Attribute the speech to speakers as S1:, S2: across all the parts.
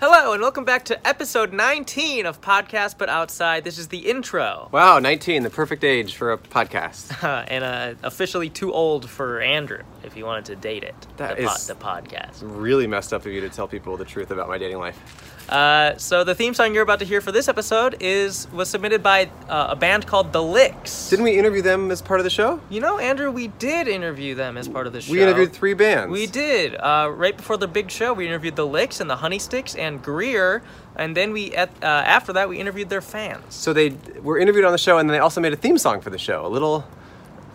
S1: Hello, and welcome back to episode 19 of Podcast But Outside. This is the intro.
S2: Wow, 19, the perfect age for a podcast.
S1: Uh, and uh, officially too old for Andrew, if you wanted to date it.
S2: That
S1: the,
S2: is-
S1: the podcast.
S2: Really messed up of you to tell people the truth about my dating life.
S1: Uh, so the theme song you're about to hear for this episode is was submitted by uh, a band called The Licks.
S2: Didn't we interview them as part of the show?
S1: you know, Andrew, we did interview them as part of the show.
S2: We interviewed three bands.
S1: We did. Uh, right before the big show, we interviewed The Licks and The Honey Sticks and Greer, and then we at, uh, after that we interviewed their fans.
S2: So they were interviewed on the show, and they also made a theme song for the show. A little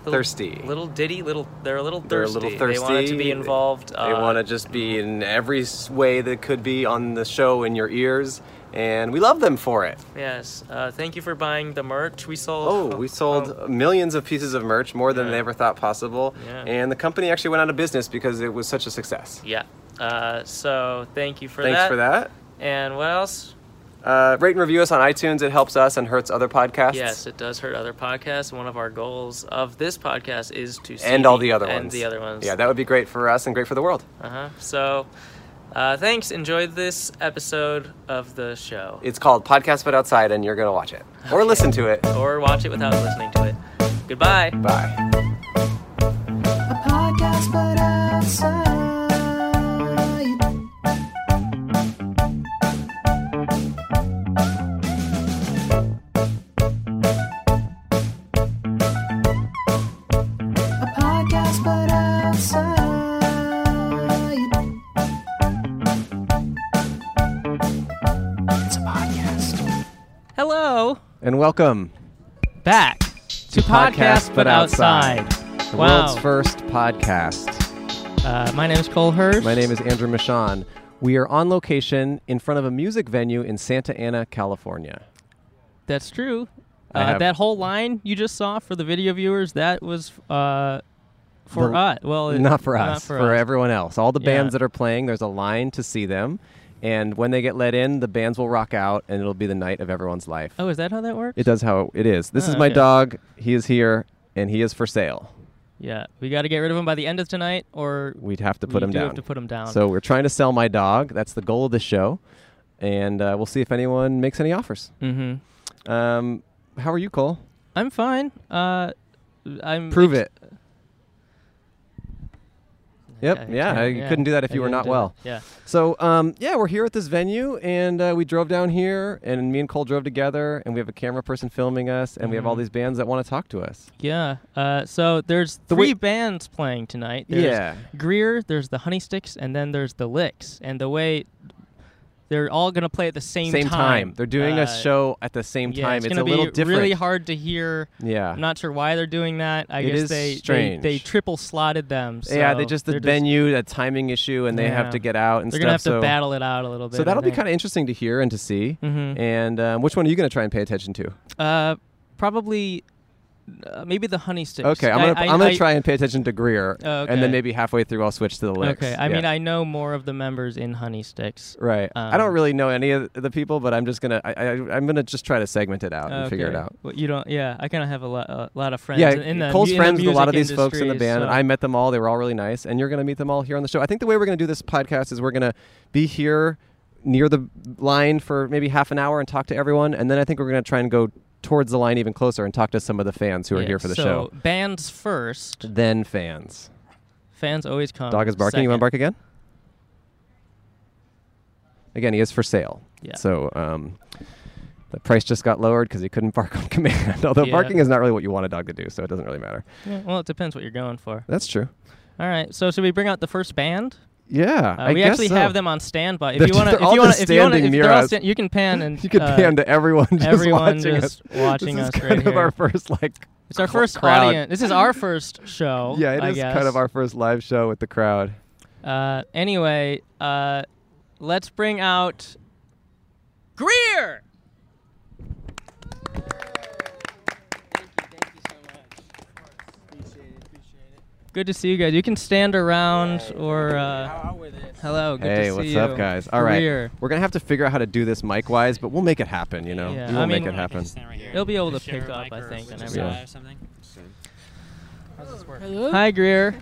S2: thirsty.
S1: Little ditty, little they're a little thirsty.
S2: They're a little thirsty.
S1: They wanted to be involved.
S2: They,
S1: uh,
S2: want to just be in every s- way that could be on the show in your ears, and we love them for it.
S1: Yes. Uh, thank you for buying the merch. We sold.
S2: Oh, we sold
S1: oh,
S2: millions of pieces of merch, more than
S1: Yeah.
S2: they ever thought possible,
S1: Yeah.
S2: and the company actually went out of business because it was such a success.
S1: yeah. Uh, so thank you for
S2: Thanks
S1: that.
S2: for that.
S1: And what else?
S2: Uh, rate and review us on iTunes. It helps us and hurts other podcasts.
S1: Yes, it does hurt other podcasts. One of our goals of this podcast is to see
S2: And all the other
S1: and
S2: ones.
S1: the other ones.
S2: Yeah, that would be great for us and great for the world.
S1: Uh-huh. So, uh, thanks. Enjoy this episode of the show,
S2: It's called Podcast But Outside, and you're going to watch it or listen to it.
S1: or watch it without listening to it. Goodbye.
S2: Bye.
S3: A podcast, but outside. A podcast, but outside. It's a podcast.
S1: Hello,
S2: And welcome.
S1: back to podcast, but outside.
S2: The
S1: Wow.
S2: world's first podcast.
S1: Uh, my name is Cole Hirsch.
S2: My name is Andrew Michon. We are on location in front of a music venue in Santa Ana, California.
S1: That's true.
S2: I
S1: Uh,
S2: have-
S1: that whole line you just saw for the video viewers, that was uh, for
S2: The-
S1: us. Well, it-
S2: Not for us, for,
S1: for, us.
S2: everyone else. All the
S1: Yeah.
S2: bands that are playing, there's a line to see them. And when they get let in, the bands will rock out, and it'll be the night of everyone's life.
S1: Oh, is that how that works?
S2: It does how it is. This
S1: Oh,
S2: is my
S1: okay.
S2: dog. He is here, and he is for sale.
S1: yeah, we got to get rid of him by the end of tonight, or
S2: We'd have to put
S1: we
S2: him
S1: do
S2: down.
S1: Have to put him down.
S2: So we're trying to sell my dog. That's the goal of the show, and uh, we'll see if anyone makes any offers.
S1: hmm
S2: Um, how are you, Cole?
S1: I'm fine. Uh, I'm
S2: Prove it. Yep.
S1: I
S2: yeah, I
S1: can't- yeah,
S2: couldn't do that if
S1: I
S2: you were
S1: couldn't
S2: not
S1: do
S2: well.
S1: that. Yeah.
S2: So um, yeah, we're here at this venue, and uh, we drove down here, and me and Cole drove together, and we have a camera person filming us, and we have all
S1: Mhm.
S2: these bands that want to talk to us.
S1: Yeah. Uh, so there's
S2: The
S1: three
S2: way-
S1: bands playing tonight. There's
S2: Yeah.
S1: Greer, there's the Honey Sticks, and then there's the Licks. And the way they're all gonna play at the same,
S2: Same
S1: time.
S2: They're doing
S1: Uh,
S2: a show at the same
S1: yeah,
S2: time.
S1: It's,
S2: It's,
S1: gonna
S2: a little
S1: be
S2: different.
S1: really hard to hear.
S2: Yeah.
S1: I'm not sure why they're doing that. I
S2: It
S1: guess
S2: is
S1: they, they
S2: strange.
S1: they triple slotted them. So
S2: yeah, they just the
S1: they're
S2: venue, a timing issue, and they
S1: Yeah.
S2: have to get out and
S1: They're
S2: stuff.
S1: gonna have to
S2: so,
S1: battle it out a little bit.
S2: so that'll be kind of interesting to hear and to see.
S1: Mhm.
S2: And um, which one are you going to try and pay attention to?
S1: of uh, probably uh, maybe the Honey Sticks.
S2: Okay, I'm
S1: I-
S2: gonna
S1: I-
S2: am gonna
S1: I-
S2: try and pay attention to Greer,
S1: Oh,
S2: and
S1: okay.
S2: then maybe halfway through I'll switch to the Licks.
S1: Okay, I mean
S2: Yeah.
S1: I know more of the members in Honey Sticks.
S2: right. I
S1: um,
S2: don't really know any of the people, but I'm just gonna I, I I'm gonna just try to segment it out and figure it
S1: Okay.
S2: out.
S1: Well, you don't. Yeah, I kind of have a lot, a lot of friends.
S2: yeah,
S1: in the,
S2: Cole's
S1: mu- in the
S2: friends with a lot of
S1: music
S2: these folks in the
S1: industry,
S2: band.
S1: so-
S2: I met them all; they were all really nice. And you're gonna meet them all here on the show. I think the way we're gonna do this podcast is we're gonna be here near the line for maybe half an hour and talk to everyone, and then I think we're gonna try and go towards the line even closer and talk to some of the fans who are
S1: Yeah,
S2: here for the
S1: so
S2: show.
S1: Bands first.
S2: Then fans.
S1: Fans always come.
S2: Dog is barking. You want to
S1: second.
S2: bark again? Again, he is for sale.
S1: Yeah.
S2: So um, the price just got lowered because he couldn't bark on command. Although
S1: Yeah.
S2: barking is not really what you want a dog to do, so it doesn't really matter.
S1: Yeah, well, it depends what you're going for.
S2: That's true.
S1: All right. So should we bring out the first band?
S2: Yeah.
S1: Uh,
S2: I
S1: we
S2: guess
S1: actually
S2: so.
S1: have them on standby. If
S2: They're
S1: you want to, if
S2: just- they're all
S1: you want
S2: just
S1: to, if you want to,
S2: standing
S1: if
S2: near
S1: they're all
S2: us.
S1: stand- you can pan and
S2: You could
S1: uh,
S2: pan to everyone just
S1: everyone
S2: watching
S1: just
S2: us.
S1: watching
S2: this
S1: us
S2: is
S1: right
S2: kind of
S1: here.
S2: our first like.
S1: It's our
S2: cl-
S1: first
S2: crowd.
S1: audience. This is our first show.
S2: Yeah, it
S1: I
S2: is
S1: guess.
S2: kind of our first live show with the crowd.
S1: Uh, anyway, uh, let's bring out Greer. Good to see you guys. You can stand around or uh, hello. Good to
S2: hey,
S1: see
S2: what's
S1: you.
S2: up, guys? All right,
S1: Greer.
S2: we're gonna have to figure out how to do this mic wise, but we'll make it happen. You know,
S1: Yeah,
S2: we will
S1: I
S2: make
S1: mean-
S2: it happen.
S1: They'll be able to pick up, I think, and
S2: everything.
S4: something.
S2: does this work?
S5: Hello.
S1: Hi, Greer.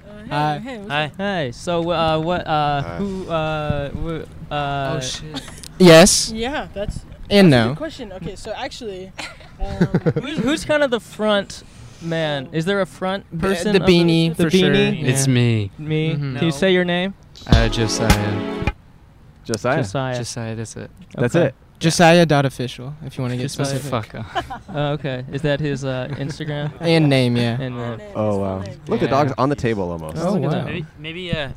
S1: Hi.
S5: Uh, hey, hey, what's
S6: Hi.
S1: Hi. So, uh, what, uh,
S7: Hi.
S1: who, uh, wh- uh,
S5: Oh, up?
S8: Yes
S5: Yeah, that's
S8: and
S5: a good
S8: no.
S5: question. Okay, so actually, um,
S1: who's, who's kind of the front man? Is there a front person?
S8: the
S1: of
S8: beanie
S1: the
S8: for sure.
S1: beanie.
S8: Yeah.
S9: It's me,
S1: Me.
S8: Mhm.
S1: Can
S9: No.
S1: you say your name?
S9: uh, Josiah.
S2: Josiah.
S1: Josiah.
S9: Josiah, that's it.
S2: That's
S1: Okay.
S2: it.
S8: Josiah dot official if you want to get
S1: Josiah.
S8: specific.
S9: Fuck off.
S1: Oh, okay. Is that his uh, Instagram?
S8: And name, yeah.
S1: And uh,
S5: name,
S2: Oh
S5: his
S2: wow!
S5: full name.
S2: Look, the
S9: Yeah.
S2: dog's on the table almost.
S8: Oh,
S1: Look at
S8: wow.
S1: that.
S9: Maybe, maybe, uh,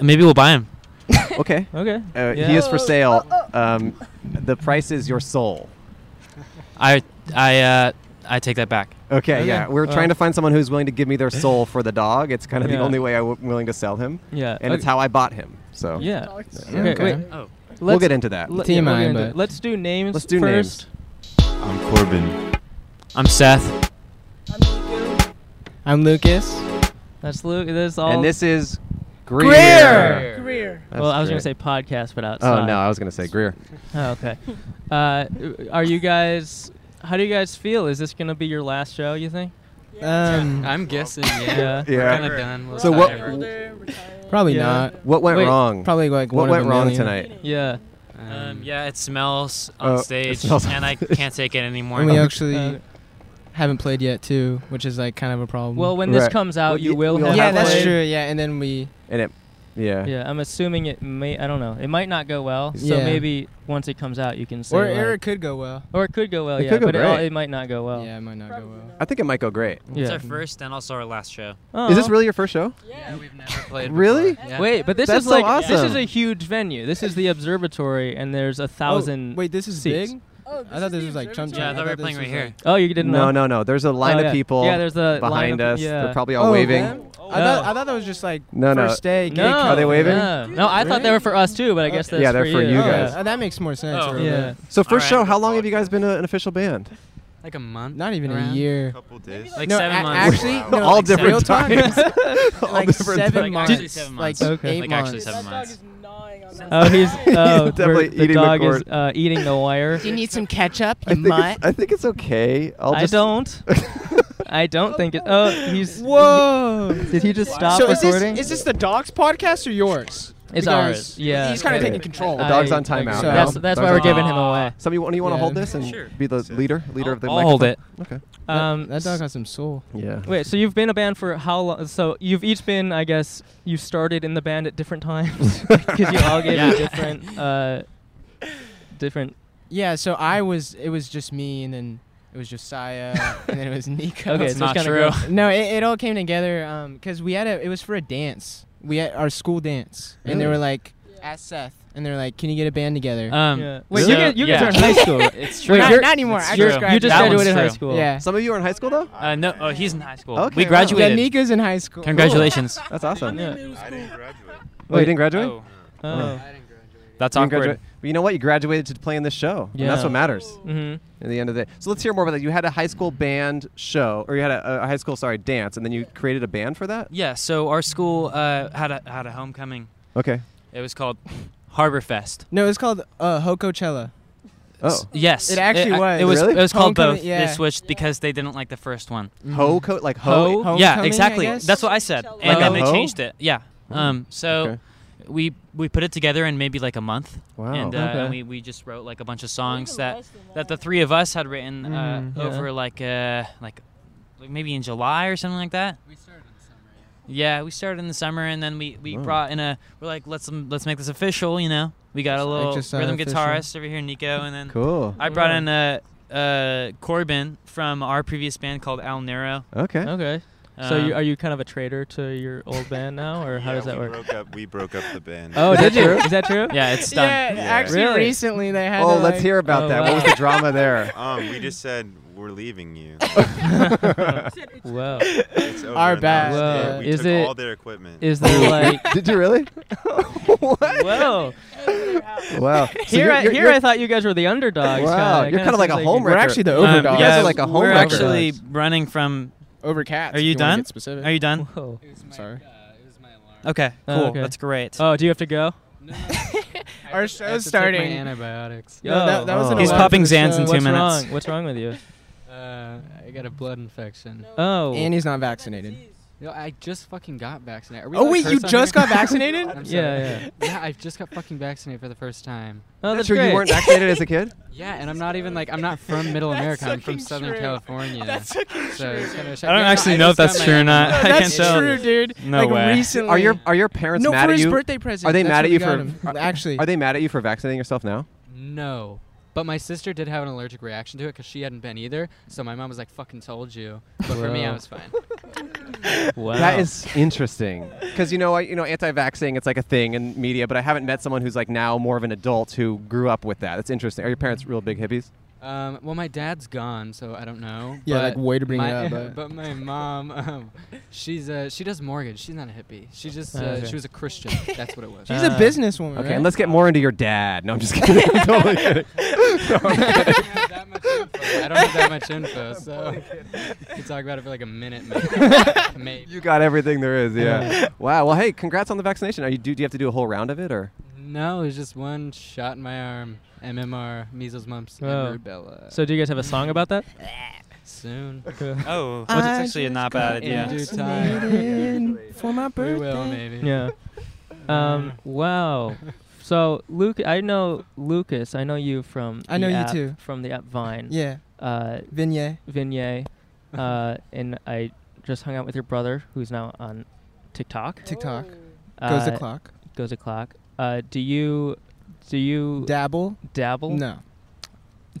S9: maybe we'll buy him.
S2: Okay.
S1: Okay.
S2: Uh,
S1: Yeah.
S2: He is for
S5: Oh,
S2: sale. Um, the price is your soul.
S9: I, I, uh, I take that back.
S2: Okay, Oh.
S1: Okay.
S2: yeah. We're
S1: Well.
S2: trying to find someone who's willing to give me their soul for the dog. It's kind of
S1: Yeah.
S2: the only way I'm w- willing to sell him,
S1: Yeah.
S2: and it's
S1: okay.
S2: how I bought him. So
S1: Yeah.
S8: Yeah,
S1: Okay,
S8: okay.
S1: wait.
S9: Oh.
S1: Let's,
S2: we'll get into that.
S1: let-
S8: TMI,
S1: we're gonna do-
S8: but-
S1: let's do names.
S2: Let's do
S1: first.
S7: I'm Corbin.
S9: I'm Seth.
S8: I'm Lucas.
S1: That's Luke. That's all.
S2: and this is Greer.
S8: Greer!
S5: Career.
S2: That's
S1: well, I was gonna
S2: great.
S1: say podcast, but outside.
S2: Oh no, I was gonna say Greer.
S1: Oh, okay. Uh, are you guys? How do you guys feel? Is this gonna be your last show? You think?
S8: Um,
S9: I'm guessing.
S1: Yeah.
S2: Yeah.
S9: Kind of done. We'll
S2: So
S9: start
S2: what-
S9: over.
S5: Older, retired.
S8: probably
S1: Yeah.
S8: not.
S2: What went
S1: Wait,
S2: wrong?
S8: Probably like
S2: what
S8: one
S2: went
S8: of a
S2: wrong
S8: million.
S2: tonight?
S1: Yeah.
S9: Um, yeah, it smells on
S2: Oh, it
S9: stage,
S2: smells on
S9: and I
S2: stage.
S9: can't take it anymore. Um,
S8: And we actually
S1: Uh,
S8: haven't played yet too, which is like kind of a problem.
S1: well, when this
S2: Right.
S1: comes out,
S2: Well,
S1: you
S2: y-
S1: will.
S2: we'll
S1: have
S8: yeah,
S2: have
S8: that's
S1: played.
S8: true. Yeah, and then we
S2: And it, yeah.
S1: Yeah, I'm assuming it may. I don't know. It might not go well. So
S8: Yeah.
S1: maybe once it comes out, you can say.
S8: or
S1: like-
S8: Eric could go well.
S1: Or it could go well.
S2: It
S1: yeah,
S2: could go
S1: but It, all,
S2: great.
S1: it might not go well.
S8: Yeah, it might not go well.
S2: I think it might go great.
S9: It's
S1: Yeah.
S9: our first and also our last show.
S1: Oh.
S2: Is this really your first show?
S5: Yeah.
S9: we've never played.
S2: Really?
S9: Yeah.
S1: Wait, but this
S2: That's
S1: is like
S2: so
S1: this
S2: awesome.
S1: is a huge venue. This is the observatory, and there's a
S8: Oh,
S1: thousand.
S8: wait, this is
S1: seats.
S8: big.
S5: Oh, this
S8: I thought
S5: is
S8: this
S5: the
S8: was like chum
S5: observatory?
S8: chum.
S9: Yeah, I thought we were
S8: this
S9: playing
S8: was,
S9: right here.
S8: like-
S1: Oh, you didn't
S2: No,
S1: know?
S2: no, no. There's a line
S1: Oh,
S2: of
S1: yeah.
S2: people
S1: Yeah, there's a line
S2: behind
S1: of-
S2: us.
S1: yeah.
S2: They're probably all
S8: Oh,
S2: waving.
S8: them? I
S1: No.
S8: thought I thought that was just like
S2: No, no.
S8: first day.
S1: No,
S8: gig
S2: Are they waving?
S1: No, No, I thought they were for us too, but I guess that's
S2: Yeah, they're for you
S1: you
S8: oh,
S2: guys.
S8: uh, that makes more sense.
S9: Oh.
S8: or
S1: Yeah.
S8: whatever.
S2: So first
S9: Alright,
S2: show,
S9: I'm gonna
S2: how long
S9: follow
S2: have you guys been a, an official band?
S9: Like a month.
S8: Not even
S9: around?
S8: a year.
S7: Couple days.
S9: Like
S8: no,
S9: seven
S8: a-
S9: months.
S8: actually,
S7: Wow.
S8: no,
S2: all
S8: like
S2: different
S8: real talk,
S2: times. all
S8: like
S2: different
S8: seven
S2: times.
S9: Like,
S8: months,
S9: actually seven months.
S8: like
S1: Okay.
S8: eight
S9: Like,
S8: months.
S9: actually seven
S5: That dog
S9: months.
S5: is gnawing on that.
S1: Oh, he's oh,
S2: definitely
S1: we're-
S2: eating
S1: the
S2: the
S1: dog is
S2: cord.
S1: uh, eating the wire.
S4: Do you need some ketchup,
S2: I
S4: you
S2: think,
S4: mutt?
S2: it's, I think it's okay. I'll
S1: I
S2: just
S1: don't. I don't think it. Oh, he's.
S8: Whoa!
S1: Did he just stop
S8: so is this
S1: recording?
S8: is this the dog's podcast or yours?
S1: It's
S8: Because
S1: ours. Yeah.
S8: He's kind of
S2: okay.
S8: taking control.
S2: The dog's
S1: I-
S2: on timeout.
S8: so.
S2: now.
S1: That's that's
S2: Dog's
S1: why we're
S2: on timeout.
S1: giving him away.
S2: Somebody want you want to
S8: Yeah.
S2: hold this and
S9: Sure.
S2: be the leader leader of the
S9: I'll hold it.
S2: microphone?
S1: Um,
S8: that dog has some soul.
S2: Okay. Yeah.
S1: Wait, so you've been a band for how long? So you've each been, I guess, you started in the band at different times because you all gave
S9: Yeah.
S1: a different, uh, different.
S8: Yeah. So I was. It was just me, and then it was Josiah, and then it was Nico.
S1: Okay,
S9: That's
S1: so it's
S9: not
S1: kind
S9: true.
S1: of
S8: No, it, it all came together because we had a. It was for a dance. We had our school dance, and they
S2: Really?
S8: were like, asked Seth, and they were like, "Can you get a band together?"
S9: Um,
S1: Yeah. Wait,
S9: so-
S1: you guys- you guys
S9: yeah.
S1: are in high school.
S9: it's true.
S8: not,
S1: you're-
S8: not anymore.
S9: it's
S8: I
S9: true.
S8: just
S1: You
S8: graduated.
S1: just
S9: That one's
S1: graduated high
S9: true.
S1: school.
S8: Yeah.
S2: Some of you are in high school though.
S9: Uh, no, oh, he's in high school.
S2: Okay,
S9: we
S2: wow.
S9: graduated.
S8: Yeah, Nico's in high school.
S9: Congratulations.
S2: That's awesome.
S1: Yeah.
S7: I didn't graduate.
S2: Oh, you didn't graduate.
S9: Oh,
S1: Oh.
S9: that's
S2: You didn't
S9: awkward.
S2: graduate. Well, you know what? You graduated to play in this show. And that's
S1: Yeah.
S2: what matters
S1: Mm-hmm.
S2: at the end of the day. So let's hear more about that. You had a high school band show, or you had a, a high school sorry dance, and then you created a band for that.
S9: Yeah. So our school uh, had a had a homecoming.
S2: Okay.
S9: It was called Harbor Fest.
S8: No, it's called uh, Hocochella.
S2: Oh.
S9: Yes,
S8: It actually
S9: I- It
S8: was.
S9: was.
S2: Really? Mm-hmm.
S9: It was called
S8: Homecoming,
S9: both.
S8: yeah.
S9: They switched because they didn't like the first one.
S2: Ho coat like
S9: Ho.
S2: ho.
S9: yeah,
S8: Homecoming, I
S9: exactly.
S8: guess?
S9: That's what I said.
S5: Like
S9: And
S2: a
S9: then they
S2: hoe?
S9: changed it. Yeah. Um. So
S2: Okay.
S9: we we put it together in maybe like a month,
S2: Wow.
S9: and, uh,
S1: Okay.
S9: and we we just wrote like a bunch of songs
S5: Even
S9: that
S5: less than
S9: that the three of us had written uh,
S8: Mm,
S1: yeah.
S9: over like uh like like maybe in July or something like that. We started in the summer. Yeah, we started in the summer, and then we we
S2: Oh.
S9: brought in a we're like let's um, let's make this official. You know, we got a
S8: Like
S9: little
S8: just, uh,
S9: rhythm
S8: official.
S9: guitarist over here, Nico, and then
S2: Cool.
S9: I brought
S1: Yeah.
S9: in a. Uh, Corbin from our previous band called Al Nero.
S2: Okay.
S1: Okay. so you,
S9: Um,
S1: are you kind of a traitor to your old band now, or how
S7: Yeah,
S1: does that
S7: we
S1: work?
S7: Broke up, we broke up the band.
S1: Oh, did you? Is that true?
S9: Yeah, it's done.
S8: Yeah,
S7: Yeah.
S8: actually,
S1: Really?
S8: recently they had.
S2: Oh,
S8: to,
S2: let's
S8: like-
S2: hear about
S1: Oh,
S2: that. What was
S1: wow.
S2: the drama there?
S7: Um, we just said we're leaving you.
S1: Wow.
S7: It's over
S8: Our
S7: and
S8: bad.
S7: that's it.
S8: Whoa.
S7: We
S1: Is
S7: took
S1: it-
S7: all their equipment.
S1: Is there like?
S2: Did you really? what?
S1: Whoa!
S2: Wow. So
S1: here,
S2: you're-
S1: I,
S2: you're-
S1: here I
S2: you're-
S1: thought you guys were the underdogs.
S2: Wow,
S1: kinda.
S2: you're
S1: Kinda
S2: kinda like
S1: seems
S2: a home
S8: We're
S2: wrecker.
S8: actually the
S9: Um,
S8: overdogs.
S2: You guys
S9: yeah,
S2: are like a home
S9: We're
S2: wrecker.
S9: actually running from.
S8: over cats.
S9: Are
S8: if
S9: you
S8: wanna
S9: done?
S8: get specific.
S9: Are you done?
S1: Whoa.
S8: Sorry.
S9: Okay, cool.
S1: Oh, okay.
S9: That's great.
S1: Oh, do you have to go?
S8: Our show's starting.
S10: antibiotics.
S8: No, that, that was
S2: Oh.
S8: an
S2: He's
S8: alarm
S9: popping
S8: for the
S9: Xans
S8: show.
S9: in two
S1: What's
S9: minutes.
S1: wrong? What's wrong with you?
S10: Uh, I got a blood infection.
S1: Oh.
S8: And he's not vaccinated.
S4: Yo, I just fucking got vaccinated. Are we
S8: Oh
S4: allowed to
S8: wait, you
S4: curse on
S8: just
S4: here?
S8: got vaccinated?
S4: I'm sorry.
S1: Yeah, yeah.
S4: yeah, I just got fucking vaccinated for the first time.
S1: Oh,
S2: That's
S1: that's
S2: true.
S1: great.
S2: You weren't vaccinated as a kid.
S4: Yeah, and I'm not even like I'm not from Middle America. I'm from
S5: fucking
S4: Southern
S5: true.
S4: California.
S5: That's fucking
S4: so
S5: true.
S4: it's kind of
S9: I don't actually know if that's true or not. I can't
S8: That's
S9: tell.
S8: true, dude.
S9: No
S8: like
S9: way.
S8: Recently.
S2: Are your are your parents
S8: no
S2: mad
S8: for
S2: at
S8: his
S2: you?
S8: birthday present?
S2: Are they
S8: That's
S2: mad
S8: what
S2: at
S8: we
S2: you
S8: got
S2: for-
S8: him. actually?
S2: Are they mad at you for vaccinating yourself now?
S4: No. But my sister did have an allergic reaction to it because she hadn't been either. So my mom was like, "Fucking told you." But for me, I
S9: Wow.
S4: was fine.
S9: Wow.
S2: That is interesting. Because you know, I, you know, anti-vaxxing it's like a thing in media, but I haven't met someone who's like now more of an adult who grew up with that. That's interesting. Are your parents real big hippies?
S4: Um, well, my dad's gone, so I don't know.
S8: Yeah,
S4: but
S8: like, way to bring
S4: my,
S8: it up, but-
S4: my mom, um, she's uh, she does mortgage. She's not a hippie. She just uh,
S1: Okay.
S4: she was a Christian. That's what it was.
S8: She's
S9: Uh,
S8: a businesswoman.
S2: Okay,
S8: right?
S2: and let's get more into your dad. No, I'm just kidding. I'm totally kidding. No, I'm
S4: I
S2: kidding.
S4: don't have that much info. I don't have that much info, so we could talk about it for like a minute, maybe. maybe.
S2: You got everything there is, yeah. wow. Well, hey, congrats on the vaccination. Are you do, do you have to do a whole round of it or?
S4: No, it's just one shot in my arm. MMR, measles, mumps,
S1: Oh.
S4: and rubella.
S1: So do you guys have a song about that?
S4: soon,
S9: Oh, what's
S8: I
S9: actually
S8: just
S9: not
S8: got
S9: bad idea.
S4: due time.
S8: vaccinated for my
S4: we
S8: birthday.
S4: will maybe.
S1: Yeah. Um, wow. So Luke, I know Lucas. I know you from.
S8: I
S1: the
S8: know you
S1: app-
S8: too.
S1: From the app Vine.
S8: Yeah,
S1: Uh,
S8: Vignette.
S1: Vignette, uh, and I just hung out with your brother, who's now on TikTok.
S8: TikTok.
S1: Uh,
S8: Goes the clock.
S1: Goes the clock. Uh, do you do you
S8: Dabble.
S1: dabble?
S8: No.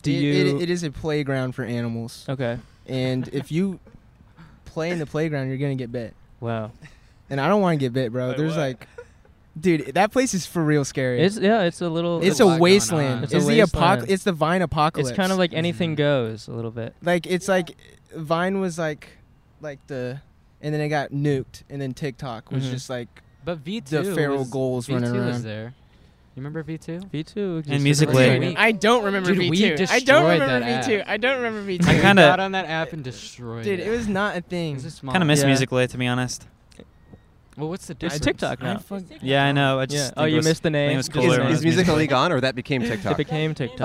S1: Do
S8: It- it-
S1: you?
S8: it is a playground for animals,
S1: okay.
S8: and if you play in the playground, you're gonna get bit.
S1: Wow.
S8: And I don't want to get bit, bro.
S9: Wait,
S8: There's
S9: what?
S8: like, dude, that place is for real scary.
S1: It's yeah. It's a little.
S8: It's
S4: There's a
S8: a
S4: lot going on.
S8: wasteland.
S1: It's
S8: It's,
S1: a
S8: the
S1: wasteland.
S8: apocalypse. It's the Vine apocalypse.
S1: It's kind of like anything
S4: Mhm.
S1: goes a little bit.
S8: like it's like Vine was like like the, and then it got nuked, and then TikTok was
S9: Mm-hmm.
S1: Mhm.
S8: just like
S4: But V two.
S8: the feral
S4: was,
S8: goals
S4: V2
S8: running
S4: was
S8: around.
S4: there. You remember V two?
S1: V2 existed
S9: Music
S1: for a
S9: Lite.
S4: We-
S1: minute.
S8: I don't remember
S4: Dude, we
S8: V2. I don't
S4: destroyed
S8: remember
S4: that
S8: V2.
S4: app.
S8: I don't remember V2.
S9: I kinda-
S4: got on that app and destroyed.
S8: dude, it was not a thing.
S9: Kind of miss
S1: Yeah.
S9: Music Lite, to be honest.
S4: Well, what's the
S1: It's
S4: difference?
S1: TikTok now.
S9: Yeah, I know. I just
S1: Yeah. Oh,
S9: think it
S1: you
S9: was-
S1: missed the
S9: I think
S1: name.
S9: It was
S1: Just
S9: cooler.
S1: the
S9: when
S2: Is,
S9: it
S1: name.
S2: is
S9: was
S2: Musical League on or that became TikTok?
S1: It became TikTok.
S8: Uh,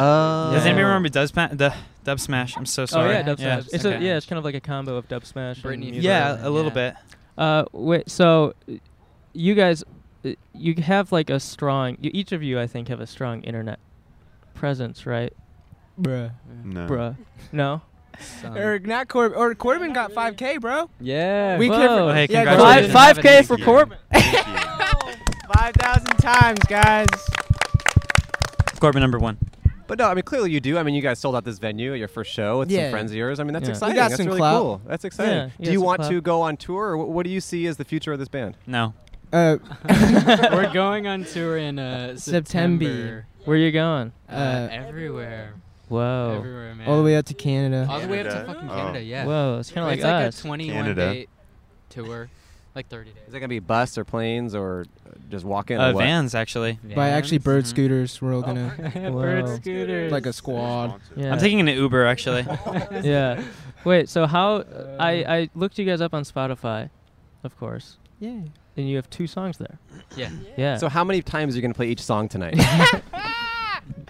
S2: Oh.
S9: Does anybody
S1: Yeah.
S9: remember Dub Smash? The Dub Smash. I'm so
S1: oh
S9: sorry.
S1: yeah, Dub Smash. It's a,
S9: okay.
S1: yeah, it's kind of like a combo of Dub Smash.
S4: Britney
S1: and
S4: Spears.
S1: Music
S9: Yeah,
S1: Lite.
S9: a little
S4: Yeah.
S9: bit.
S1: Uh, wait. So, uh, you guys, uh, you have like a strong. You, each of you, I think, have a strong internet presence, right,
S8: bruh.
S7: No.
S1: bruh? No. Um,
S4: Some-
S8: Or not Corbin. Or Corbin got 5K, bro.
S4: Yeah.
S8: We
S1: Whoa.
S8: could-
S9: Hey,
S8: yeah,
S9: congratulations.
S1: Five- 5K for
S7: Thank you.
S1: Corbin.
S7: Thank you.
S8: Five thousand times, guys.
S9: Corbin number one.
S2: But no, I mean clearly you do. I mean you guys sold out this venue at your first show with some
S8: Yeah.
S2: friends of yours. I mean that's
S1: Yeah. You
S2: exciting.
S8: got
S2: that's
S8: some
S2: really
S8: clout.
S2: cool. That's exciting.
S1: Yeah, you
S2: do
S1: got
S2: you
S1: some
S2: want
S1: clout.
S2: to go on tour or wh- what do you see as the future of this band?
S9: No.
S8: Uh,
S4: We're Uh, going on tour in uh,
S8: September.
S4: September.
S1: Where you going?
S4: Uh,
S8: Uh,
S4: everywhere.
S1: Whoa.
S4: Everywhere, man.
S8: all the way up to Canada.
S4: All the way up to
S7: Canada.
S4: fucking
S7: Oh.
S4: Canada, yeah.
S1: Whoa, it's kind of like
S4: it's like
S1: us.
S4: a 21
S7: Canada.
S4: day tour, like 30 days.
S2: Is it gonna be bus or planes or uh, just walking?
S9: Uh,
S2: or what?
S9: Vans, actually.
S8: By actually bird
S9: Mhm.
S8: scooters,
S5: Oh,
S8: we're all gonna
S1: Whoa.
S4: bird scooters.
S8: like a squad.
S1: yeah.
S9: I'm taking an Uber, actually.
S1: yeah. Wait. So how? uh, I I looked you guys up on Spotify, of course,
S8: Yeah.
S1: and you have two songs there.
S4: Yeah.
S1: Yeah.
S2: So how many times are you gonna play each song tonight?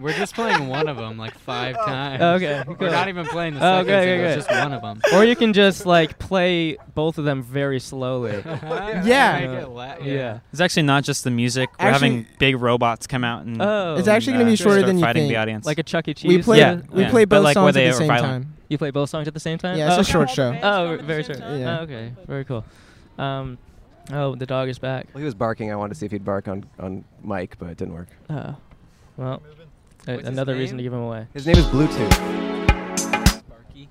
S4: We're just playing one of them like five
S2: Oh.
S4: times.
S1: Oh, okay.
S4: We're
S1: cool.
S4: not even playing the
S1: Oh,
S4: second
S1: okay,
S4: single,
S1: okay,
S4: it's just one of them.
S1: or you can just like play both of them very slowly.
S8: Yeah.
S4: Make it la-
S1: yeah.
S9: It's actually not just the music. We're
S8: Actually-
S9: having big robots come out and
S1: Oh.
S8: It's actually gonna
S9: uh,
S8: be shorter
S9: start
S8: than you
S9: fighting
S8: think.
S9: the audience.
S1: like a Chuck E. Cheese.
S8: We play.
S9: Yeah,
S8: we
S9: yeah.
S8: play
S9: But
S8: both
S9: like, were
S8: songs
S9: they
S8: at
S9: are
S8: the same
S9: violent?
S8: time.
S1: You play both songs at the same time?
S8: Yeah,
S1: oh.
S8: it's a short show.
S1: Oh, very short.
S8: Yeah.
S1: Oh, okay. Very cool. Um, oh, the dog is back.
S2: well, he was barking. I wanted to see if he'd bark on on Mike, but it didn't work.
S8: Uh.
S1: Oh. Well, a-
S4: What's his
S1: another reason to
S4: name?
S1: give him away.
S2: His name is Bluetooth.
S1: If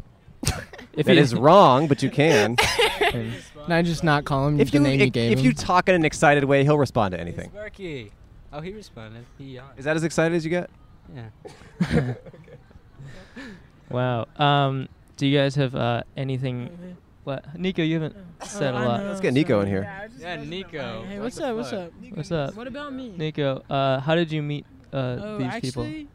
S2: That
S1: he-
S2: is wrong, but you can.
S8: Can I just not call him
S2: if
S8: the
S2: you
S8: name
S2: if,
S8: you gave
S2: if
S8: him?
S2: you talk in an excited way, he'll respond to anything.
S4: Sparky. Oh, he responded. He yawned.
S2: Is that as excited as you get?
S4: Yeah.
S1: Wow. Um, do you guys have uh, anything? What? Nico, you haven't
S5: Oh,
S1: said a lot.
S2: Let's get Nico in here.
S4: Yeah, Nico.
S5: Hey,
S4: what
S5: what's
S4: the
S5: up? What's
S4: fuck?
S5: up?
S1: What's up,
S5: What about me?
S1: Nico? Uh, how did you meet uh,
S5: oh,
S1: these
S5: actually,
S1: people?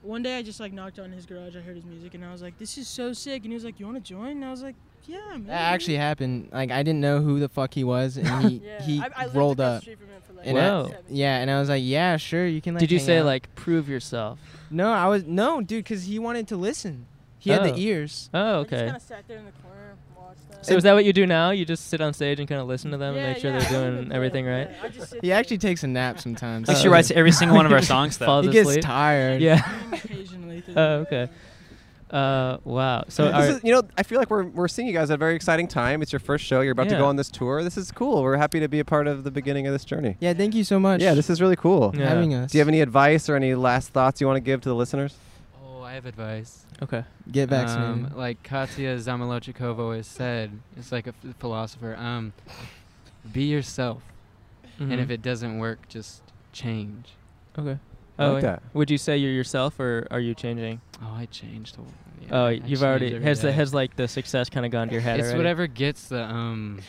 S5: one day I just like knocked on his garage. I heard his music, and I was like, "This is so sick!" And he was like, "You want to join?" And I was like, "Yeah, man."
S8: that actually happened. Like I didn't know who the fuck he was, and he
S5: yeah.
S8: he
S5: I, I lived
S8: rolled
S5: across the
S8: up.
S5: street from him for, like,
S8: And
S1: Wow.
S8: I,
S5: seven years.
S8: yeah, and I was like, yeah, sure, you can. Like,
S1: Did you
S8: hang
S1: say
S8: out.
S1: like prove yourself?
S8: No, I was no, dude, because he wanted to listen. He had
S1: Oh.
S8: the ears.
S1: Oh,
S5: I just
S1: okay.
S5: kind of sat there in the corner. watch that.
S1: So is that what you do now? You just sit on stage and kind of listen to them
S5: Yeah,
S1: and make sure
S5: yeah, I
S1: they're
S5: don't
S1: doing
S5: even
S1: everything
S5: play
S1: right? Oh,
S5: them. Yeah, I just sit
S8: He
S5: there.
S8: actually takes a nap sometimes.
S9: Like she writes every single one of our songs though.
S1: Falls
S8: He gets
S1: asleep.
S8: tired.
S1: Yeah.
S5: occasionally. through the
S1: Oh,
S5: day.
S1: okay. Uh, wow. So
S2: This
S1: are,
S2: is- you know, I feel like we're, we're seeing you guys at a very exciting time. It's your first show. You're about to
S1: Yeah.
S2: go on this tour. This is cool. We're happy to be a part of the beginning of this journey.
S8: Yeah. Thank you so much.
S2: Yeah, this is really cool.
S8: for
S1: Yeah.
S8: having us.
S2: Do you have any advice or any last thoughts you want to give to the listeners?
S4: Oh, I have advice.
S1: okay.
S8: Get vaccinated.
S4: Um, like Katya Zamolochikova always said, it's like a ph- philosopher. Um, be yourself, and if
S1: Mhm.
S4: it doesn't work, just change.
S1: okay.
S2: I
S1: Oh,
S2: like
S1: yeah.
S2: that.
S1: Would you say you're yourself or are you changing?
S4: Oh, I changed. Oh, yeah,
S1: oh,
S4: I
S1: you've
S4: change
S1: already
S4: every
S1: has the,
S4: day.
S1: has like the success kind of gone to your head
S4: It's
S1: already?
S4: whatever gets the um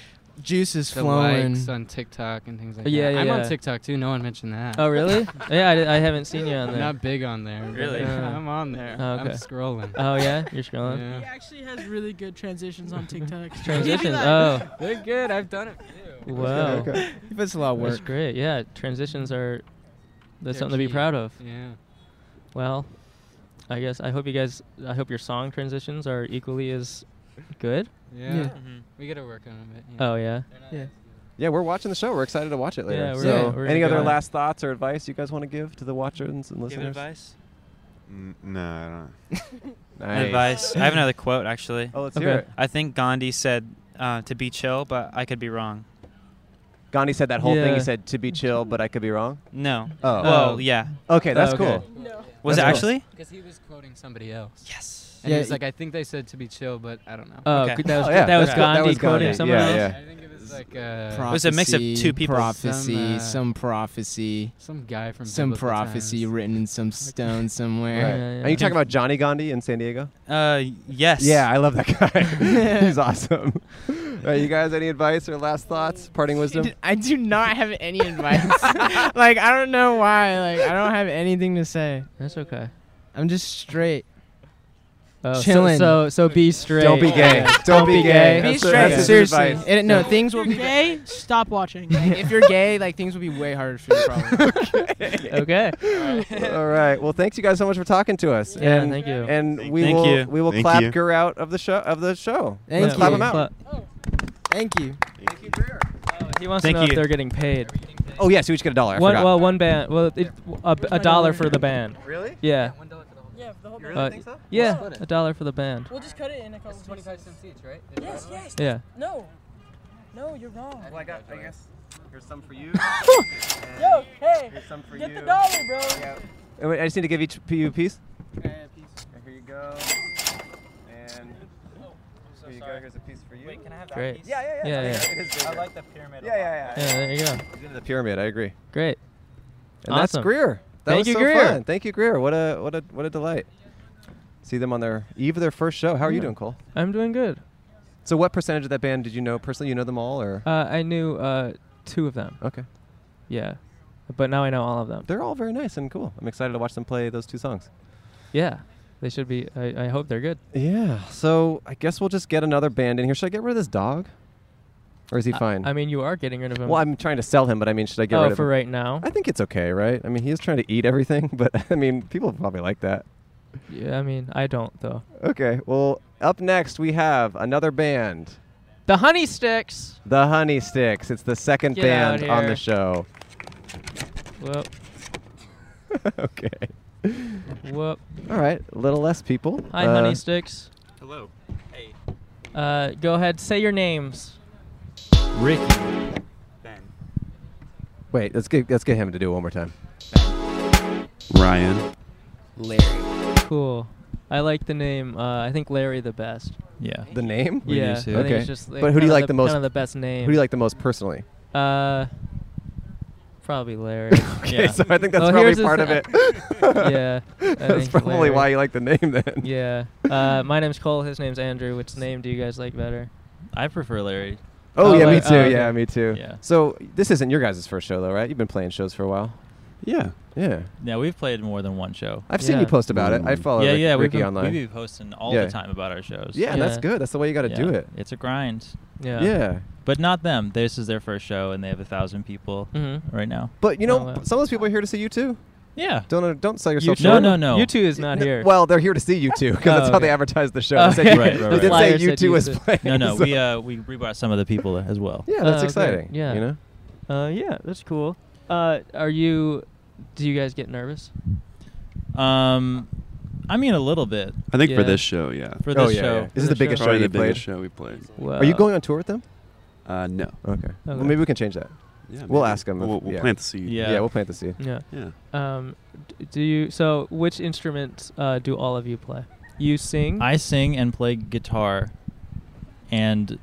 S8: Juice is
S4: the
S8: flowing.
S4: likes on TikTok and things like
S1: Yeah,
S4: that.
S1: yeah,
S4: I'm
S1: yeah.
S4: on TikTok too. No one mentioned that.
S1: Oh, really? yeah, I, di- I haven't seen you on
S4: I'm
S1: there.
S4: not big on there. but uh,
S9: Really?
S1: Yeah.
S4: I'm on there.
S1: Oh, okay.
S4: I'm scrolling.
S1: oh yeah, you're scrolling.
S4: Yeah.
S5: He actually has really good transitions on TikTok.
S1: Transitions. Oh,
S4: They're good. I've done it too.
S1: wow.
S8: He puts a lot of
S1: That's
S8: work.
S1: great. Yeah, transitions are that's
S4: They're
S1: something to be
S4: key.
S1: proud of.
S4: Yeah.
S1: Well, I guess I hope you guys. I hope your song transitions are equally as good.
S4: Yeah.
S8: Yeah.
S9: Mhm.
S4: We gotta work on it. Yeah.
S1: Oh yeah.
S2: Yeah, we're watching the show. We're excited to watch it later.
S1: Yeah, we're-
S2: so,
S1: yeah, we're
S2: any
S1: gonna
S2: other
S1: go.
S2: last thoughts or advice you guys want to give to the watchers and
S9: Give
S2: listeners?
S9: advice.
S7: N- no, I don't.
S2: Nice.
S9: Advice. I have another quote actually.
S2: Oh, let's
S1: Okay.
S2: hear it.
S9: I think Gandhi said uh, to be chill, but I could be wrong.
S2: Gandhi said that whole thing.
S1: Yeah.
S2: He said to be chill, but I could be wrong.
S9: No.
S2: Oh,
S9: Well, yeah.
S2: okay, that's
S1: Oh, okay.
S2: cool.
S5: No.
S9: Was
S2: That's
S9: it
S2: cool.
S9: actually?
S4: Because he was quoting somebody else.
S9: Yes.
S4: And
S8: Yeah,
S4: he was
S8: y-
S4: like, I think they said to be chill, but I don't know.
S1: Oh,
S9: Okay.
S1: good- that was
S2: Oh, yeah,
S1: that was
S2: that's cool. That
S1: Gandhi
S2: was Gandhi.
S1: quoting someone
S2: Yeah,
S1: else.
S2: yeah.
S4: I think it was like uh,
S8: Prophecy,
S9: was a mix of two people.
S8: Prophecy,
S4: Some, uh,
S8: some prophecy,
S4: some guy from
S8: some
S4: biblical
S8: prophecy
S4: times.
S8: written in some stone
S1: Yeah,
S8: somewhere.
S2: Right.
S1: yeah,
S2: Are you
S1: yeah.
S2: talking about Johnny Gandhi in San Diego?
S9: Uh, yes.
S2: Yeah, I love that guy. He's awesome. All right, you guys, any advice or last thoughts, parting wisdom?
S8: Dude, I do not have any advice. like I don't know why. Like I don't have anything to say.
S1: That's okay.
S8: I'm just straight.
S1: Oh, so-
S8: Chillin'.
S1: so, so be straight.
S2: Don't be gay. Don't be gay.
S8: Be
S2: That's-
S8: straight.
S2: that's his
S8: Seriously.
S2: advice.
S8: It- no, things will
S5: If
S8: be.
S5: you're gay, stop watching.
S8: if you're gay, like things will be way harder for you. Probably.
S1: okay.
S2: All right. Well, thanks you guys so much for talking to us.
S1: Yeah,
S2: and
S1: thank you.
S2: and we
S9: Thank
S2: will
S9: you.
S2: we will
S7: Thank
S2: clap
S7: you.
S2: Gur out of the show of the show.
S8: Thank
S2: Let's
S8: you.
S2: clap him out.
S1: Cla-
S8: Thank you.
S7: Thank you.
S1: Oh, He wants
S9: Thank
S1: to know
S9: you.
S1: if they're getting paid.
S2: Oh yes, we each get a dollar. I
S1: One,
S2: forgot.
S1: well, one band. Well, it, a, b- a
S5: my
S1: dollar
S5: dollar?
S1: for the band.
S2: really?
S1: Yeah.
S5: yeah, the whole
S1: Uh,
S2: think so?
S1: yeah,
S4: split it.
S1: a dollar for the band.
S5: We'll just cut it in a couple pieces.
S4: cents each, right?
S5: Yes, yes.
S1: Yeah.
S5: No. No, you're wrong.
S2: I got. I guess here's some for you.
S5: Yo, hey,
S2: some for
S5: get the dollar, bro.
S2: I just need to give each of you a piece. Here you go. And here you go. Here's a piece for you.
S9: Wait, can I have
S1: Great.
S9: that piece?
S2: yeah, yeah,
S1: Yeah,
S2: yeah.
S1: yeah.
S2: It is bigger.
S9: I like the pyramid.
S2: Yeah, yeah, yeah.
S1: Yeah, there you go.
S2: He's into the pyramid. I agree.
S1: Great.
S2: And
S1: Awesome.
S2: that's Greer. That
S1: Thank
S2: was
S1: you,
S2: so
S1: Greer.
S2: fun. Thank you, Greer. What a what a what a delight. See them on their eve of their first show. How are you
S1: Yeah.
S2: doing, Cole?
S1: I'm doing good.
S2: So, what percentage of that band did you know personally? You know them all, or
S1: Uh, I knew uh, two of them.
S2: okay?
S1: Yeah. But now I know all of them.
S2: They're all very nice and cool. I'm excited to watch them play those two songs.
S1: Yeah. They should be. I, I hope they're good.
S2: Yeah. So I guess we'll just get another band in here. Should I get rid of this dog, or is he
S1: I-
S2: fine?
S1: I, mean, you are getting rid of him.
S2: well, I'm trying to sell him, but I mean, should I get rid
S1: oh,
S2: of
S1: for
S2: him?
S1: right now.
S2: I think it's okay, right? I mean, he is trying to eat everything, but I mean, people probably like that.
S1: Yeah. I mean, I don't though.
S2: Okay. Well, up next we have another band.
S1: The Honey Sticks.
S2: The Honey Sticks. It's the second
S1: Get
S2: band
S1: out
S2: on the
S1: here.
S2: show.
S1: Whoop.
S2: okay.
S1: Whoop.
S2: All right. A little less people.
S1: Hi,
S2: Uh,
S1: Honey Sticks.
S9: Hello. Hey.
S1: Uh, go ahead. Say your names.
S9: Ricky. Ben.
S2: Wait. Let's get let's get him to do it one more time.
S7: Ryan.
S1: Cool. I like the name. Uh, I think Larry the best.
S9: Yeah.
S2: The name.
S7: We
S1: yeah.
S7: used to.
S1: I think
S2: Okay.
S1: it's just, like,
S2: But who do you
S1: kinda
S2: like the most-
S1: Kind of the best name.
S2: Who do you like the most personally?
S1: Uh, probably Larry.
S2: okay.
S9: Yeah.
S2: So I think that's
S1: Well,
S2: probably
S1: here's the
S2: part of
S1: thing.
S2: it.
S1: yeah. I
S2: that's
S1: think
S2: probably
S1: Larry.
S2: why you like the name then.
S1: Yeah. Uh, my name's Cole. His name's Andrew. Which name do you guys like better?
S9: I prefer Larry.
S2: Oh,
S1: Oh,
S2: yeah, me
S1: like-
S2: too.
S1: oh, okay.
S2: Yeah, me too.
S9: Yeah.
S2: So this isn't your guys' first show though, right? You've been playing shows for a while.
S7: Yeah.
S2: Yeah.
S10: Yeah, we've played more than one show.
S2: I've seen you
S1: Yeah.
S2: post about it. I
S7: Mm.
S2: follow
S10: yeah,
S2: Rick-
S10: yeah, we've
S2: Ricky
S10: been,
S2: online.
S10: We've been posting all
S2: Yeah.
S10: the time about our shows.
S2: yeah, and that's
S1: Yeah.
S2: good. That's the way you got to do
S10: Yeah,
S2: it.
S10: It's a grind,
S1: Yeah.
S2: Yeah.
S10: but not them. This is their first show, and they have a thousand people
S1: Mhm.
S10: right now.
S2: But you know,
S1: Oh, wow.
S2: some of those people are here to see you too.
S10: Yeah.
S2: Don't uh, don't sell yourself.
S10: U2?
S2: short.
S10: No, no, no.
S1: U2 is not here.
S2: Well, they're here to see you two because
S1: Oh,
S2: that's how they
S1: okay.
S2: advertise the show.
S1: Oh,
S2: They said-
S1: okay.
S10: Right, right,
S2: they
S10: right.
S2: did
S1: Flyer
S2: say you
S1: said
S2: two was
S1: U2.
S2: playing.
S10: No, no.
S2: so-
S10: We uh we rebrought some of the people as well.
S2: yeah, that's
S1: Oh, okay.
S2: exciting.
S1: Yeah.
S2: you know.
S1: Uh, yeah, that's cool. Uh, are you? Do you guys get nervous?
S10: Um, I mean a little bit
S7: I think
S1: Yeah.
S7: for this show, yeah.
S10: for
S2: oh
S10: this
S2: yeah,
S10: show.
S2: yeah. This is
S1: For
S2: the
S1: the
S2: biggest
S1: show.
S2: show
S7: Probably
S2: you
S7: the
S2: played.
S7: biggest show we played.
S2: Are you going on tour with them?
S7: Uh, no.
S2: Okay. Well, maybe we can change that.
S7: Yeah,
S2: We'll
S7: maybe.
S2: ask them if-
S7: We'll, we'll
S2: yeah.
S7: plant the seed.
S10: Yeah.
S2: we'll plant the seed.
S1: Yeah.
S7: Yeah.
S1: Um, d- do you? So, which instruments uh, do all of you play? You sing.
S10: I sing and play guitar, and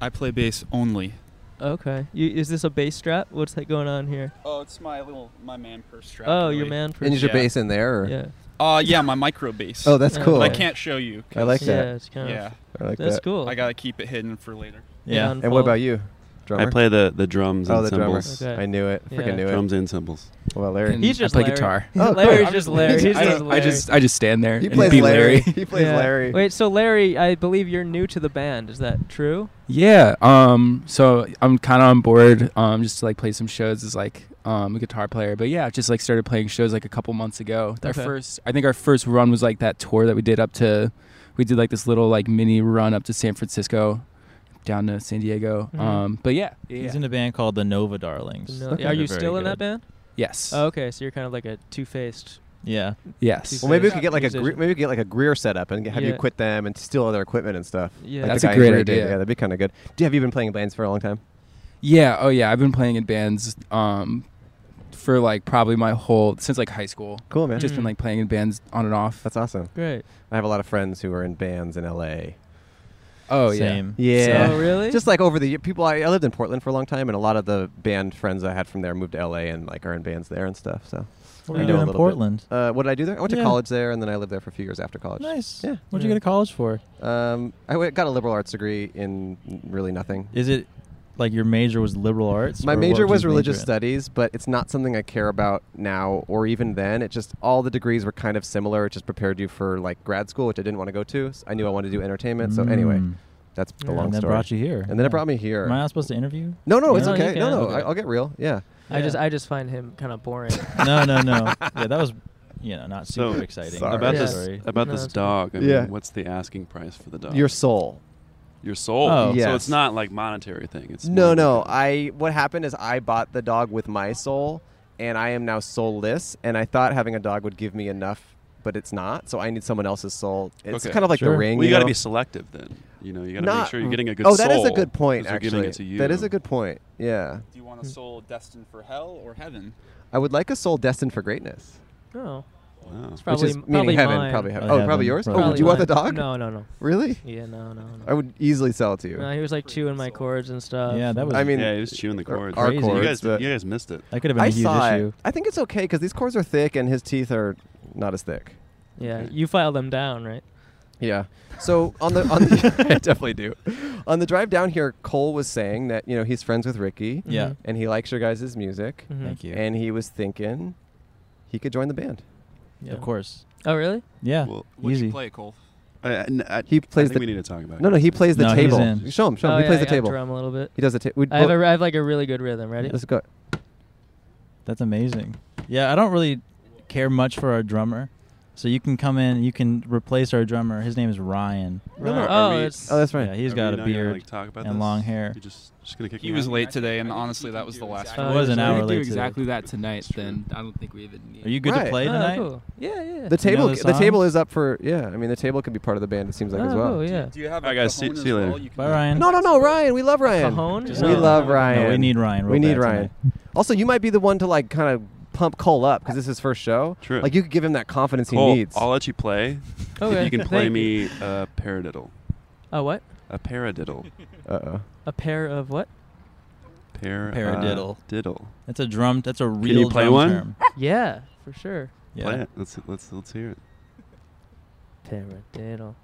S11: I play bass only.
S1: okay. You, is this a bass strap? What's that going on here?
S11: Oh, it's my little my man purse strap.
S1: Oh, your man.
S2: And is your
S11: Yeah.
S2: bass in there? Or?
S1: Yeah.
S11: Uh, yeah, my micro bass.
S2: Oh, that's
S1: Yeah.
S2: cool.
S11: I can't show you.
S2: I like
S11: 'cause-
S2: that.
S1: Yeah, it's kind
S11: Yeah,
S2: I like
S1: That's
S2: that.
S1: cool.
S11: I gotta keep it hidden for later.
S10: yeah.
S1: Unfold.
S2: And what about you, drummer?
S7: I play the, the drums
S2: oh,
S7: and
S2: the drummer.
S7: cymbals.
S1: Okay.
S2: I knew it. Freaking
S1: Yeah.
S2: knew it.
S7: Drums and cymbals.
S2: Well, Larry.
S4: And
S1: He's just
S4: I play
S1: Larry.
S4: guitar.
S2: Oh,
S1: Larry's
S2: cool.
S1: just Larry. He's
S11: I
S1: just
S11: don't-
S1: Larry.
S11: I just-
S4: I just stand there.
S2: He
S4: and
S2: plays
S4: be
S2: Larry. He plays
S1: Yeah.
S2: Larry.
S1: Wait, so Larry, I believe you're new to the band. Is that true?
S4: Yeah. Um. So I'm kind of on board. Um. Just to, like play some shows as like um a guitar player. But yeah, I've just like started playing shows like a couple months ago. Our
S1: Okay.
S4: first, I think our first run was like that tour that we did up to. We did like this little like mini run up to San Francisco, down to San Diego.
S1: Mhm.
S4: Um. But yeah. yeah,
S10: He's
S4: yeah.
S10: in a band called the Nova Darlings.
S1: No.
S10: Okay.
S1: Are
S10: They're
S1: you
S10: very
S1: still in that
S10: good.
S1: band?
S4: yes.
S1: Oh, okay, so you're kind of like a two-faced.
S10: Yeah.
S4: yes.
S2: Well, maybe we could get like a
S1: Musician.
S2: Gre- maybe we could get like a Greer setup and have you
S1: Yeah.
S2: quit them and steal all their equipment and stuff.
S1: Yeah.
S2: Like
S4: That's a
S2: the guy in
S4: great
S2: Greer did.
S4: idea.
S2: Yeah, that'd be kind of good. Do you have you been playing in bands for a long time?
S4: Yeah, oh yeah, I've been playing in bands um for like probably my whole since like high school.
S2: Cool, man.
S4: Just been
S1: Mm.
S4: like playing in bands on and off.
S2: That's awesome.
S1: Great.
S2: I have a lot of friends who are in bands in L.A.
S4: oh
S10: Same.
S2: Yeah.
S1: Oh, really?
S2: Just like over the year, people I, I lived in Portland for a long time, and a lot of the band friends I had from there moved to L.A. and like are in bands there and stuff. So,
S10: What were
S2: I
S10: you
S2: know a
S10: doing in
S2: little bit.
S10: Portland?
S2: uh, what did I do there? I went to
S10: Yeah.
S2: college there, and then I lived there for a few years after college.
S10: Nice.
S2: Yeah.
S10: What'd
S1: Yeah.
S10: you go to college for?
S2: Um, I w- got a liberal arts degree in really nothing.
S10: Is it like your major was liberal arts?
S2: My
S10: or what
S2: major
S10: did
S2: was
S10: you
S2: religious
S10: major in?
S2: studies, but it's not something I care about now or even then. It just all the degrees were kind of similar. It just prepared you for like grad school, which I didn't want to go to. S- I knew I wanted to do entertainment. So anyway,
S10: Mm.
S2: that's the
S1: Yeah.
S2: long
S10: and that
S2: story.
S10: brought you here.
S2: and then it brought me here.
S10: Am I not supposed to interview?
S2: no, no, it's
S1: No, you
S2: okay. No,
S1: can.
S2: no,
S10: Okay.
S2: I, I'll get real. Yeah.
S1: I just I just find him kind of boring.
S10: no, no, no. Yeah, that was, you know, not super
S7: So,
S10: exciting.
S2: sorry.
S7: About
S1: Yeah.
S7: this about
S1: No,
S7: this
S1: it's okay.
S7: dog. I
S2: Yeah.
S7: mean, what's the asking price for the dog?
S2: Your soul.
S7: Your soul.
S10: Oh.
S7: So
S2: Yes.
S7: it's not like monetary thing. It's
S2: No,
S7: more
S2: no.
S7: like a-
S2: I what happened is I bought the dog with my soul, and I am now soulless. And I thought having a dog would give me enough, but it's not. So I need someone else's soul. It's
S7: Okay.
S2: kind of like the
S10: Sure.
S2: ring.
S7: Well, you
S2: got
S7: got
S2: to
S7: to be selective then. You know, you got to
S2: Not-
S7: make sure you're getting a good
S2: Oh,
S7: soul.
S2: that is a good point.
S7: 'cause they're
S2: Actually,
S7: giving it to you.
S2: that is a good point. Yeah,
S11: Do you want a soul destined for hell or heaven?
S2: I would like a soul destined for greatness,
S1: oh,
S7: Wow.
S1: it's probably
S2: which is
S1: probably
S2: meaning heaven,
S1: mine.
S2: probably heaven.
S10: Probably
S2: oh, probably
S10: heaven,
S2: yours.
S10: probably
S2: oh, would you want the
S1: mine.
S2: dog?
S1: No, no, no.
S2: Really?
S1: Yeah, no, no, no.
S2: I would easily sell it to you.
S1: No, he was like chewing my cords and stuff.
S10: Yeah, that was.
S2: I mean,
S7: yeah, he was chewing the cords.
S2: our
S10: Crazy.
S2: cords.
S7: you guys,
S2: but
S7: you guys missed it.
S10: that could have been a
S2: I
S10: huge
S2: saw
S10: issue.
S2: it. I think it's okay because these cords are thick and his teeth are not as thick.
S1: yeah. You filed them down, right?
S2: Yeah. So on the on the I definitely do. On the drive down here, Cole was saying that you know he's friends with Ricky
S10: Yeah.
S2: and he likes your guys' music,
S1: Mhm.
S10: Mm-hmm. Thank you.
S2: and he was thinking he could join the band.
S10: Yeah,
S1: Yeah.
S10: Of course.
S1: Oh, really?
S10: Yeah.
S7: Well,
S11: What
S10: Easy.
S11: you play, Cole?
S7: I, I- n- I-
S2: He
S7: I
S2: plays
S7: think
S2: the
S7: we need to talk about.
S2: no no he plays the
S10: No, he's
S2: table.
S10: in.
S2: Show him show him.
S1: oh,
S2: he
S1: yeah,
S2: plays
S1: I
S2: the
S1: got
S2: table.
S1: Drum a little bit.
S2: He does the table.
S1: I have, a, I have like a really good rhythm. Ready?
S2: Let's go.
S10: That's amazing. Yeah, I don't really care much for our drummer. So you can come in, you can replace our drummer. His name is Ryan.
S2: No,
S1: Right.
S2: no,
S1: Oh,
S7: are we-
S1: it's
S2: Oh, that's right.
S10: Yeah, he's got a beard.
S7: Like, talk about
S10: and
S7: this?
S10: long hair.
S7: You're just just gonna kick
S11: He
S7: him
S11: was
S7: out?
S11: late today, and honestly, that was the last.
S10: It was
S4: If
S10: an
S4: we
S10: hour
S4: could
S10: late
S4: do
S10: today.
S4: exactly that tonight, then I don't think we even need.
S10: Are you good
S2: Right.
S10: to play
S1: Oh,
S10: tonight?
S1: cool. Yeah, yeah.
S2: The table
S10: the
S2: the, table
S10: songs?
S2: is up for yeah. I mean the table could be part of the band. It seems like
S1: oh,
S2: as well.
S1: cool, yeah.
S11: Do you have?
S7: All right, guys, see-
S11: cojones
S7: see you
S11: as
S7: later.
S11: well? You can-
S10: Bye, Ryan.
S2: No no no Ryan. We love Ryan.
S1: Cajon?
S2: We
S1: No.
S2: love
S1: No, we
S2: Ryan.
S10: No, we need Ryan. real
S2: We need
S10: bad
S2: Ryan.
S10: tonight.
S2: Also, you might be the one to like kind of pump Cole up because this is his first show.
S7: True.
S2: Like you could give him that confidence
S7: Cole,
S2: he needs.
S7: I'll let you play
S1: Okay.
S7: if you can play
S1: Thank you.
S7: me a paradiddle.
S1: A what?
S7: A paradiddle.
S2: Uh-oh.
S1: A pair of what?
S7: Par-
S10: Paradiddle.
S7: Uh, diddle.
S10: That's a drum. That's a real
S7: you play
S10: drum
S7: one?
S10: term.
S1: yeah, for sure.
S10: Yeah,
S7: Play it. Let's let's let's hear it.
S1: Paradiddle.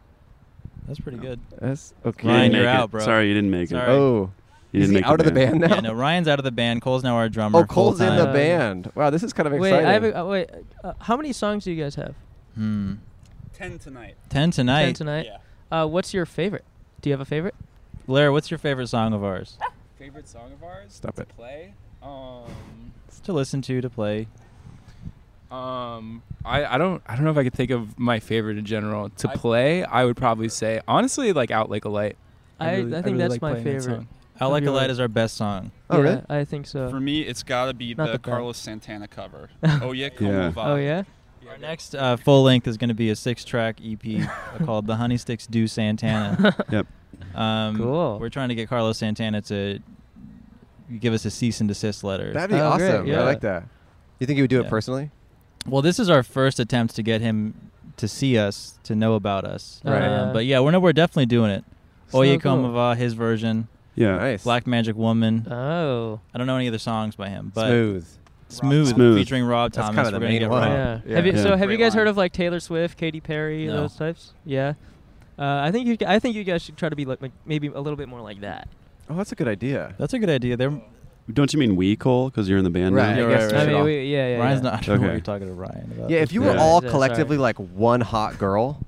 S10: that's pretty good.
S2: That's okay.
S7: You
S10: Ryan,
S7: didn't
S10: you're
S7: make it.
S10: out, bro.
S7: Sorry, you didn't make
S10: Sorry.
S7: it.
S2: Oh,
S7: You
S2: is
S7: didn't
S2: he
S7: make
S2: out of the band now?
S10: Yeah, no, Ryan's out of the band. Cole's now our drummer.
S2: oh, Cole's in the
S1: full-time.
S2: band. Wow, this is kind of
S1: Wait,
S2: exciting.
S1: I have a, uh, wait. Uh, how many songs do you guys have?
S10: Hmm.
S11: Ten tonight.
S10: Ten tonight.
S1: Ten tonight.
S11: Yeah.
S1: Uh, what's your favorite? Do you have a favorite?
S10: Lara, what's your favorite song of ours
S11: Favorite song of ours?
S2: Stop
S11: to
S2: it.
S11: Play. Um.
S10: to listen to to play?
S4: Um, I, I don't I don't know if I could think of my favorite in general to play. I would probably say honestly like Out Like a Light.
S1: I- I think that's my
S4: playing that
S1: favorite.
S4: song.
S10: Out Like a
S1: Really?
S10: Light is our best song.
S1: Oh, Yeah, really? I think so.
S11: For me, it's got to be
S1: Not
S11: the,
S1: the bad.
S11: Carlos Santana cover. oh yeah, cool.
S10: Yeah.
S11: vibe.
S1: Oh yeah.
S10: Our next uh, full length is going to be a six track EP called The Honey Sticks Do Santana.
S7: Yep.
S10: Um,
S1: Cool.
S10: We're trying to get Carlos Santana to give us a cease and desist letter.
S2: That'd be Oh, great, awesome. I yeah. like that. You think he would do it personally?
S10: Well, this is our first attempt to get him to see us, to know about us.
S2: Right.
S10: Um, but yeah, we're, no, we're definitely doing it.
S1: So
S10: Oye
S1: cool.
S10: Como Va, his version.
S7: Yeah.
S2: Nice.
S10: Black Magic Woman.
S1: Oh.
S10: I don't know any other songs by him, but
S2: Smooth.
S10: Smooth,
S7: Smooth.
S10: featuring Rob
S2: That's
S10: Thomas.
S2: kinda the
S10: We're gonna
S2: main
S10: get
S2: one.
S10: Rob.
S1: Yeah. Have you,
S7: Yeah.
S1: So have you
S11: Great
S1: guys heard
S11: line.
S1: of like Taylor Swift, Katy Perry,
S10: No.
S1: those types? Yeah. Uh, I think you. g- I think you guys should try to be like, like maybe a little bit more like that.
S2: Oh, that's a good idea.
S10: That's a good idea. They're
S7: Don't you mean we, Cole? Because you're in the band
S2: Right,
S7: now?
S2: I guess we
S1: I
S2: should
S1: mean,
S2: all-
S1: we, yeah, yeah.
S10: Ryan's
S1: yeah.
S10: not. I don't know
S7: Okay.
S10: what you're talking to Ryan about.
S2: Yeah, if you were
S7: Yeah.
S2: all
S1: Yeah, sorry.
S2: collectively like one hot girl,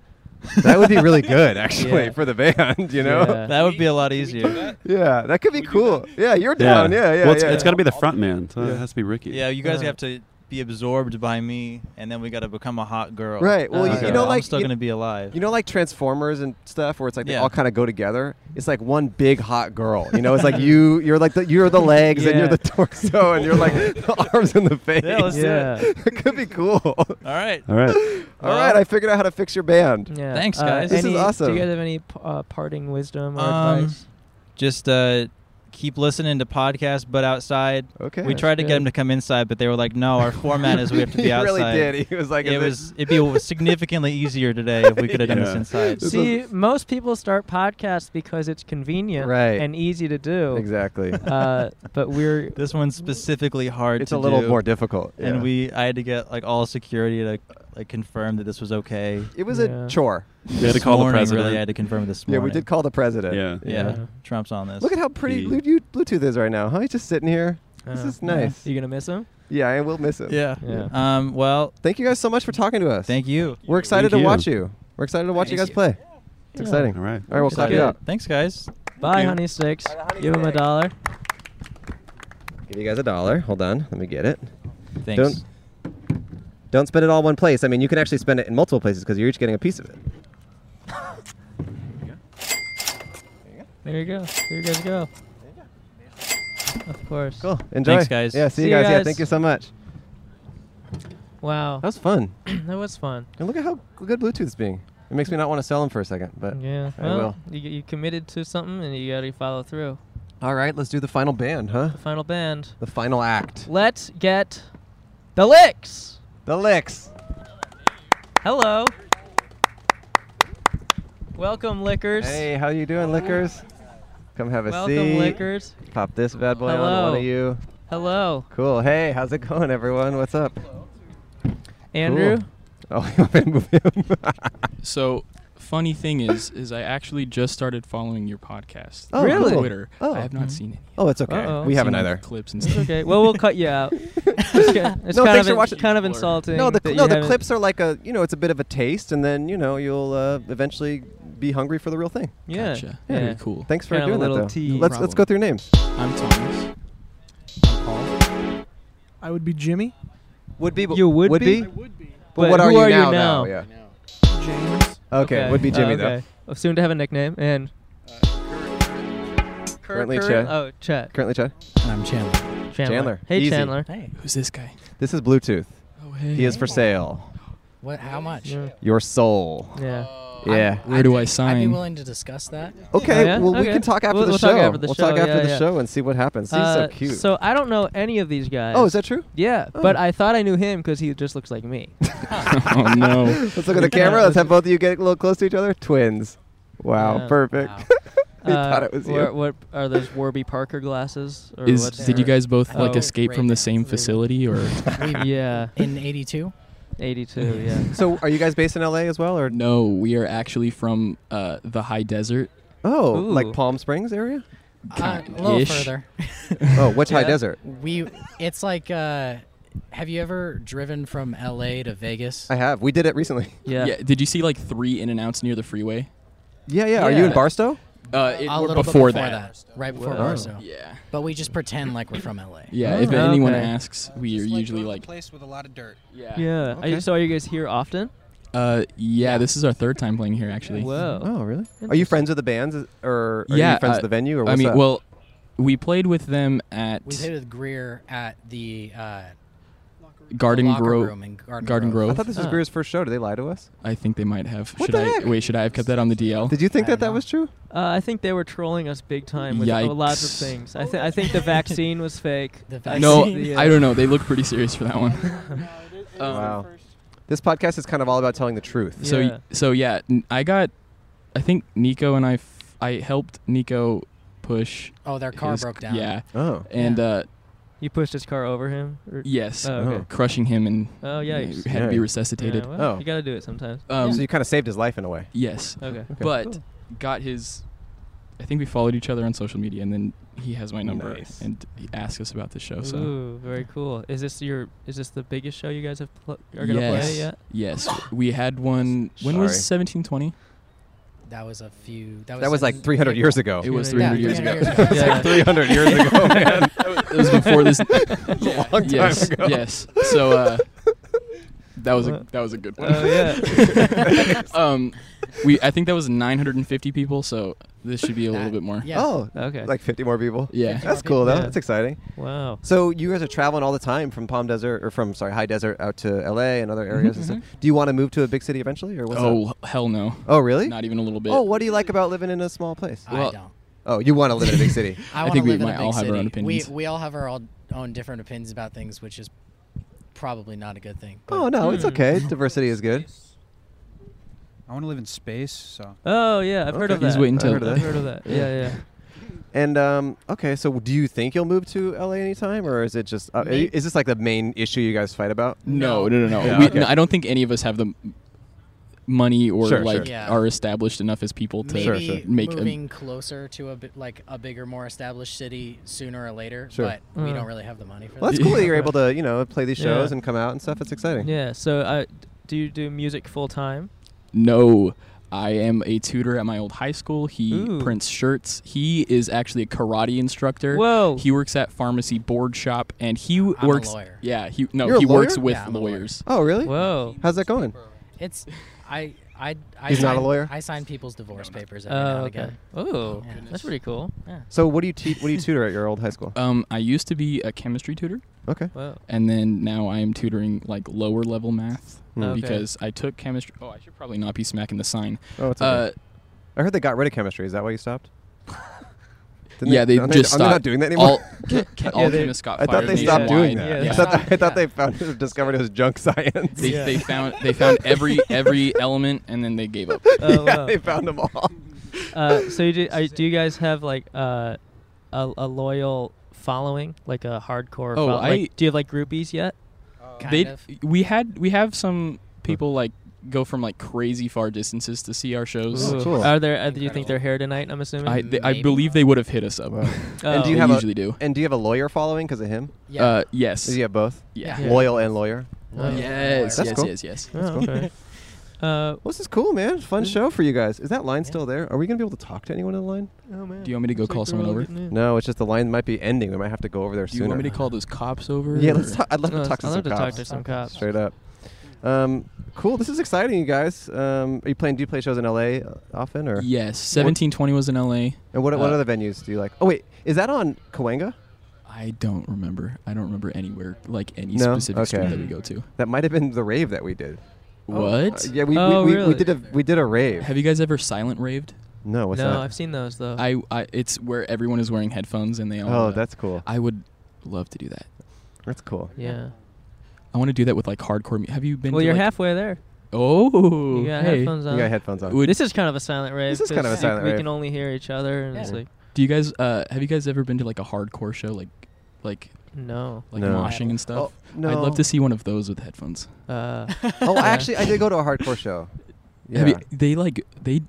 S2: that would be really good actually
S1: Yeah.
S2: for the band, you know?
S1: Yeah.
S10: that would be a lot
S11: Can we do
S10: easier.
S11: that?
S2: Yeah, that could be cool. yeah, you're down. Yeah, yeah,
S7: Well, it's,
S2: yeah.
S7: it's got to be the front man. So It has to be Ricky.
S10: Yeah, you guys
S1: Yeah.
S10: have to be absorbed by me, and then we got to become a hot girl.
S2: Right, well,
S1: you- you
S10: So
S1: know,
S10: I'm
S2: like,
S10: still
S2: you-
S10: gonna be alive.
S2: You know, like Transformers and stuff, where it's like they
S10: Yeah.
S2: all kind of go together. It's like one big hot girl. You know, it's like you, you're like the, you're the legs and you're
S1: Yeah.
S2: the torso and you're like the arms and the face.
S10: Yeah, let's do
S1: Yeah.
S10: it.
S2: it could be cool. all
S10: All right.
S7: All right.
S2: right, I figured out how to fix your band.
S1: Yeah.
S10: Thanks,
S1: Uh,
S10: guys.
S2: This is
S1: any- Do
S2: awesome.
S1: you guys have any p- uh, parting wisdom or
S10: Um,
S1: advice?
S10: Just uh, keep listening to podcasts, but outside.
S2: Okay.
S10: we tried to
S1: good.
S10: get him to come inside, but they were like, "No, our format is we have to be
S2: he
S10: outside."
S2: really did. He was like,
S10: it
S2: "Is
S10: was. It'd be significantly easier today if we could have done this
S7: Yeah.
S10: inside.
S7: This
S1: See, most people start podcasts because it's convenient
S2: Right.
S1: and easy to do.
S2: Exactly.
S1: Uh, but we're
S10: This one's specifically hard.
S2: it's
S10: to
S2: a little
S10: do.
S2: more difficult.
S10: and
S2: yeah.
S10: we I had to get like all security to like confirm that this was okay.
S2: It was
S1: Yeah.
S2: a chore.
S7: We had to
S10: This
S7: call the
S10: morning,
S7: president.
S10: Really, I had to confirm this
S2: Yeah,
S10: morning.
S2: we did call the president.
S7: Yeah.
S10: Yeah,
S1: Yeah.
S10: Trump's on this.
S2: Look at how pretty
S7: He-
S2: Blu- you- Bluetooth is right now. Huh? He's just sitting here. This
S1: Uh,
S2: is nice.
S1: You gonna miss him?
S2: Yeah, I will miss him.
S10: yeah.
S1: Yeah.
S10: Um. Well,
S2: Thank you guys so much for talking to us.
S10: thank you.
S2: We're excited
S7: Thank
S2: to
S7: you.
S2: watch you. We're excited to watch you guys
S10: Thank you.
S2: play. It's exciting.
S7: All right.
S2: All right, we'll clap
S10: Excited.
S2: you up.
S10: Thanks, guys.
S1: Bye,
S7: you.
S1: honey sticks.
S2: Bye, honey
S1: Give him a
S2: sticks.
S1: dollar.
S2: Give you guys a dollar. Hold on. Let me get it.
S10: Thanks.
S2: Don't don't spend it all in one place. I mean, you can actually spend it in multiple places because you're each getting a piece of it.
S1: There you go. There you guys go. Of course.
S2: Cool. Enjoy.
S10: Thanks, guys.
S2: Yeah,
S1: See
S2: see, you
S1: you
S2: guys. Yeah,
S1: guys.
S2: thank you so much.
S1: Wow.
S2: That was fun.
S1: that was fun.
S2: And look at how good Bluetooth's being. It makes me not want to sell them for a second, but
S1: Yeah.
S2: I
S1: well,
S2: will.
S1: You, you committed to something and you gotta follow through.
S2: All right, let's do the final band, huh?
S1: The final band.
S2: The final act.
S1: Let's get the licks.
S2: The Licks.
S1: Hello. Welcome, lickers.
S2: Hey, how you doing, Lickers? Come have a
S1: Welcome,
S2: seat.
S1: lickers.
S2: Pop this bad boy on
S1: Hello.
S2: one of you.
S1: Hello,
S2: Cool. Hey, how's it going, everyone? What's up?
S1: Andrew.
S2: Oh, you want me to move him?
S12: So, funny thing is, is I actually just started following your podcast.
S2: Oh,
S12: on
S2: Really?
S12: Twitter.
S2: Oh.
S12: I have not seen any.
S2: oh, it's okay.
S1: Uh-oh.
S2: We haven't
S12: seen, like,
S2: either.
S12: Clips and
S1: It's
S12: stuff.
S1: okay. Well, we'll cut you out. It's, ki- it's
S2: No,
S1: kind
S2: thanks
S1: of
S2: for
S1: in-
S2: watching.
S1: Kind of insulting.
S2: No, the
S1: that
S2: cl-
S1: you
S2: no the
S1: haven't-
S2: clips are like a you know it's a bit of a taste, and then you know you'll uh, eventually be hungry for the real thing.
S1: Yeah.
S12: Gotcha.
S1: Yeah.
S12: Very cool.
S2: Thanks for
S1: Kind of a
S2: doing that.
S1: little
S2: though.
S1: tea
S2: let's let's go through names.
S12: I'm Thomas.
S13: I would be Jimmy,
S2: Would be
S1: You would
S2: would
S1: be?
S2: be.
S1: I
S13: would be
S1: But
S2: But what
S1: who
S2: are you
S1: are you
S2: now?
S1: now?
S2: Yeah.
S13: James,
S2: Okay. Would be
S1: Oh,
S2: Jimmy though.
S1: okay. Oh, Soon to have a nickname and. Cur-
S2: Currently
S1: current-
S2: Chet.
S1: Oh, Chet.
S2: Currently, Chad.
S10: And I'm Chandler.
S1: Chandler.
S2: Chandler.
S1: Hey,
S2: Easy.
S1: Chandler.
S13: hey,
S12: Who's this guy?
S2: This is Bluetooth.
S12: Oh, hey.
S2: He is for sale.
S13: what? How much?
S1: Yeah.
S2: Your soul.
S1: Yeah.
S2: Yeah.
S12: Where do I
S13: I'd be
S12: sign?
S13: willing to discuss that.
S2: Okay.
S1: Oh, yeah?
S2: Well, we
S1: Okay.
S2: can talk after
S1: We'll-
S2: the
S1: we'll
S2: show.
S1: talk after the
S2: we'll
S1: show.
S2: talk after
S1: Yeah,
S2: the
S1: yeah.
S2: show and see what happens. He's
S1: Uh,
S2: so cute.
S1: So I don't know any of these guys.
S2: oh, is that true?
S1: Yeah,
S2: Oh.
S1: but I thought I knew him because he just looks like me.
S12: oh no.
S2: Let's look at the camera. Let's have both of you get a little close to each other. Twins. Wow.
S1: Yeah.
S2: Perfect.
S13: Wow.
S2: He thought it was you.
S1: wha- Uh, What are those Warby Parker glasses? Or
S12: Is
S1: what's
S12: did you
S1: their-
S12: guys both
S1: Oh.
S12: like escape from the same facility or
S1: Yeah,
S13: In '82,
S1: 82. Yeah.
S2: So, are you guys based in LA as well, or
S12: no? We are actually from uh, the high desert.
S2: oh, like
S1: Ooh.
S2: Palm Springs area?
S13: uh, a little
S12: Ish.
S13: further.
S2: Oh, which high
S1: Yeah.
S2: desert?
S13: We, it's like, uh, have you ever driven from LA to Vegas?
S2: I have. We did it recently.
S1: Yeah.
S12: Did you see like three in and outs near the freeway?
S2: Yeah, yeah. Are you
S1: Yeah.
S2: in Barstow?
S12: Uh, it,
S13: a
S12: we're
S13: little bit
S12: before, that.
S13: right before
S12: Whoa.
S13: Barstow.
S12: Yeah.
S13: But we just pretend like we're from LA.
S12: Yeah, if
S1: Oh,
S12: anyone
S1: okay.
S12: asks, we are usually like
S10: place with a lot of dirt.
S1: Yeah. Are you, so are you guys here often?
S12: Uh, yeah, this is our third time playing here actually.
S1: Whoa.
S2: Oh, really? Are you friends with the bands, is- or are
S12: yeah,
S2: you friends
S12: uh,
S2: with the venue, or
S12: I
S2: what's
S12: mean,
S2: up?
S12: well, we played with them at
S13: We played with Greer at the uh,
S12: Garden
S13: locker
S12: Grove.
S13: room in Garden Uh,
S12: Grove.
S2: I thought this was Greer's first show. Did they lie to us?
S12: I think they might have.
S2: What
S12: should
S2: the
S12: I
S2: heck?
S12: wait? Should I have kept that on the DL?
S2: Did you think that that was true?
S1: Uh, I think they were trolling us big time with
S12: Yikes.
S1: lots of things. I, th- I think the vaccine was fake.
S13: The
S12: No,
S1: The, uh,
S12: I don't know. They look pretty serious for that one.
S13: Oh.
S2: wow. This podcast is kind of all about telling the truth.
S12: So y- so yeah, n- I got. I think Nico and I. F- I helped Nico push.
S13: Oh, their car broke down.
S12: Yeah.
S2: Oh.
S12: And uh,
S1: You pushed his car over him. or-
S12: yes,
S1: Oh, okay.
S12: crushing him and
S1: Oh,
S12: yeah, had
S1: yikes.
S12: to be
S2: Yeah.
S12: resuscitated.
S1: Yeah, well,
S2: Oh.
S1: You gotta do it sometimes.
S12: Um,
S2: so you kind of saved his life in a way.
S12: Yes.
S1: Okay. Okay.
S12: But
S1: Cool.
S12: got his. I think we followed each other on social media, and then he has my number
S2: Nice.
S12: and he asked us about the
S13: Oh,
S12: show. So
S1: Ooh, very cool. Is this your? Is this the biggest show you guys have pl- are gonna play yet?
S12: Yes. We had one. When was seventeen twenty?
S13: That was a few. That was,
S2: That was
S13: in
S2: like 300 years ago.
S12: It was
S13: Yeah,
S12: 300 years
S13: 300
S12: ago.
S13: years ago.
S2: It's like 300 years ago, man.
S12: It was before this.
S2: It's a long time
S12: yes,
S2: ago.
S12: Yes. So uh, that was a that was a good one.
S1: Oh, yeah.
S12: um, we I think that was 950 people. So this should be a little bit more.
S13: yeah.
S2: Oh,
S1: Okay.
S2: Like 50 more people.
S12: Yeah. 50
S2: That's
S13: more people.
S2: cool, though.
S1: Yeah.
S2: That's exciting.
S1: Wow.
S2: So you guys are traveling all the time from Palm Desert, or from, sorry, High Desert out to LA and other areas. and stuff. Do you want to move to a big city eventually, or what's
S12: Mm-hmm, Oh
S2: up?
S12: hell no.
S2: Oh, really?
S12: Not even a little bit.
S2: Oh, what do you like about living in a small place?
S13: I
S12: well-
S13: don't.
S2: Oh, you want to live in a big city.
S13: I,
S12: I
S13: want to
S12: think we
S13: live in a
S12: might
S13: big
S12: all have our own
S13: city.
S12: opinions.
S13: We we all have our all, own different opinions about things, which is probably not a good thing. but-
S2: Oh, no, it's okay. Diversity is good.
S10: I want to live in space, so
S1: Oh yeah, I've heard of
S12: Okay.
S1: that.
S12: He's waiting till-
S1: I've heard of that. I've heard of that. Yeah, yeah.
S2: And um, okay, so do you think you'll move to LA anytime, or is it just uh, are you- is this like the main issue you guys fight about?
S12: No, no, no, no.
S2: Yeah,
S12: we,
S2: okay.
S12: no, I don't think any of us have the m- money or
S2: Sure,
S12: like
S2: sure.
S13: Yeah.
S12: are established enough as people to
S13: Maybe
S12: make
S13: moving closer to a bit like a bigger, more established city sooner or later,
S2: Sure.
S13: but we
S1: Uh.
S13: don't really have the money for
S2: Well,
S13: that.
S2: that's cool that you're able to you know play these
S1: Yeah.
S2: shows and come out and stuff. It's exciting.
S1: Yeah. So, uh, d- do you do music full time?
S12: No, I am a tutor at my old high school. He
S1: Ooh.
S12: prints shirts. He is actually a karate instructor.
S1: Whoa.
S12: He works at pharmacy board shop, and he
S13: I'm a
S12: works.
S13: lawyer.
S12: Yeah, he no,
S2: You're a
S12: he works
S2: lawyer?
S12: with
S13: Yeah, I'm a lawyer.
S12: lawyers.
S2: Oh, really?
S1: Whoa.
S2: How's that going?
S13: It's I I I
S2: He's not a
S13: sign-
S2: lawyer?
S13: I sign people's divorce papers
S1: Oh,
S13: every now and
S1: okay.
S13: again.
S1: Oh,
S13: Yeah.
S1: that's pretty cool.
S13: Yeah.
S2: So what do you te- what do you tutor at your old high school?
S12: Um, I used to be a chemistry tutor,
S2: Okay.
S1: Wow.
S12: and then now I am tutoring like lower level math
S2: Hmm.
S1: Mm. Okay.
S12: because I took chemistry. Oh, I should probably not be smacking the sign.
S2: Oh, it's
S12: Uh,
S2: okay. I heard they got rid of chemistry. Is that why you stopped? Didn't
S12: yeah, they
S2: aren't
S12: just
S2: aren't they not
S12: stopped.
S2: doing that anymore.
S12: All, ca- ca- all
S2: Yeah, they-
S12: chemists got
S2: I thought
S12: fired
S2: they stopped
S12: nationwide.
S2: doing that.
S1: Yeah.
S2: I thought,
S13: Yeah.
S2: I thought they found discovered it was junk science.
S12: They, they found they found every every element and then they gave up.
S1: Oh,
S2: yeah,
S1: wow.
S2: they found them all.
S1: Uh, so you do, are, do you guys have like uh, a, a loyal following, like a hardcore?
S12: Oh,
S1: fol-
S12: I-
S1: like, do you have like groupies yet?
S13: Uh, Kind
S12: they
S13: of.
S12: we had we have some people like go from like crazy far distances to see our shows.
S1: Ooh.
S2: cool.
S1: Are there? Uh, do you think they're here tonight? I'm assuming.
S12: I they, I
S13: Maybe.
S12: believe they would have hit us up.
S2: Wow.
S1: Oh.
S2: And do you
S12: They
S2: have
S12: usually
S2: a,
S12: do.
S2: And do you have a lawyer following because of him?
S13: Yeah.
S12: Uh, yes.
S2: Does he have both?
S12: Yeah.
S1: Yeah.
S2: Loyal and lawyer.
S1: Oh.
S12: Yes.
S2: That's
S12: yes.
S2: cool.
S12: Yes. Yes.
S1: Oh, okay. uh,
S2: Well, this is cool, man. Fun show for you guys. Is that line still there? Are we gonna be able to talk to anyone in the line?
S1: oh man.
S12: Do you want me to go
S1: Looks
S12: call
S1: like
S12: someone
S1: we're all
S12: over?
S1: getting in.
S2: No, it's just the line might be ending. We might have to go over there
S12: Do
S2: sooner.
S12: you want me to call those cops over?
S2: Yeah, let's
S12: or-
S2: talk, I'd love to
S1: Let's-
S2: talk to
S1: I'd
S2: some
S1: love to
S2: cops.
S1: talk to some cops.
S2: Straight up. Um, cool. This is exciting, you guys. Um, are you playing? Do you play shows in LA often, or
S12: Yes. Seventeen twenty was in L.A.
S2: And what what
S12: Uh,
S2: other venues do you like? Oh wait, is that on Cahuenga?
S12: I don't remember. I don't remember anywhere like any
S2: No?
S12: specific street
S2: Okay.
S12: that we go to.
S2: That might have been the rave that we did.
S12: What?
S2: Uh, yeah, we,
S1: Oh,
S2: we, we,
S1: really?
S2: we did a we did a rave.
S12: Have you guys ever silent raved?
S2: no, what's
S1: no,
S2: that?
S1: I've seen those though.
S12: I, I it's where everyone is wearing headphones and they all.
S2: oh,
S12: uh,
S2: that's cool.
S12: I would love to do that.
S2: That's cool.
S1: yeah.
S12: I want to do that with like hardcore. Mu- have you been?
S1: Well,
S12: to,
S1: you're
S12: like-
S1: halfway there.
S12: Oh,
S1: You got
S12: hey.
S1: headphones on.
S2: You got headphones on.
S12: Would-
S1: this is kind of a silent rave.
S2: This is kind of a
S1: 'cause
S2: silent
S1: we
S2: rave.
S1: can only hear each other, and
S13: Yeah.
S1: it's like,
S12: Do you guys? Uh, have you guys ever been to like a hardcore show, like, like,
S1: no.
S12: like
S2: No.
S12: moshing and stuff?
S2: Oh, no.
S12: I'd love to see one of those with headphones.
S1: Uh,
S2: Oh,
S1: Yeah.
S2: actually, I did go to a hardcore show. Yeah.
S12: Have you, they like they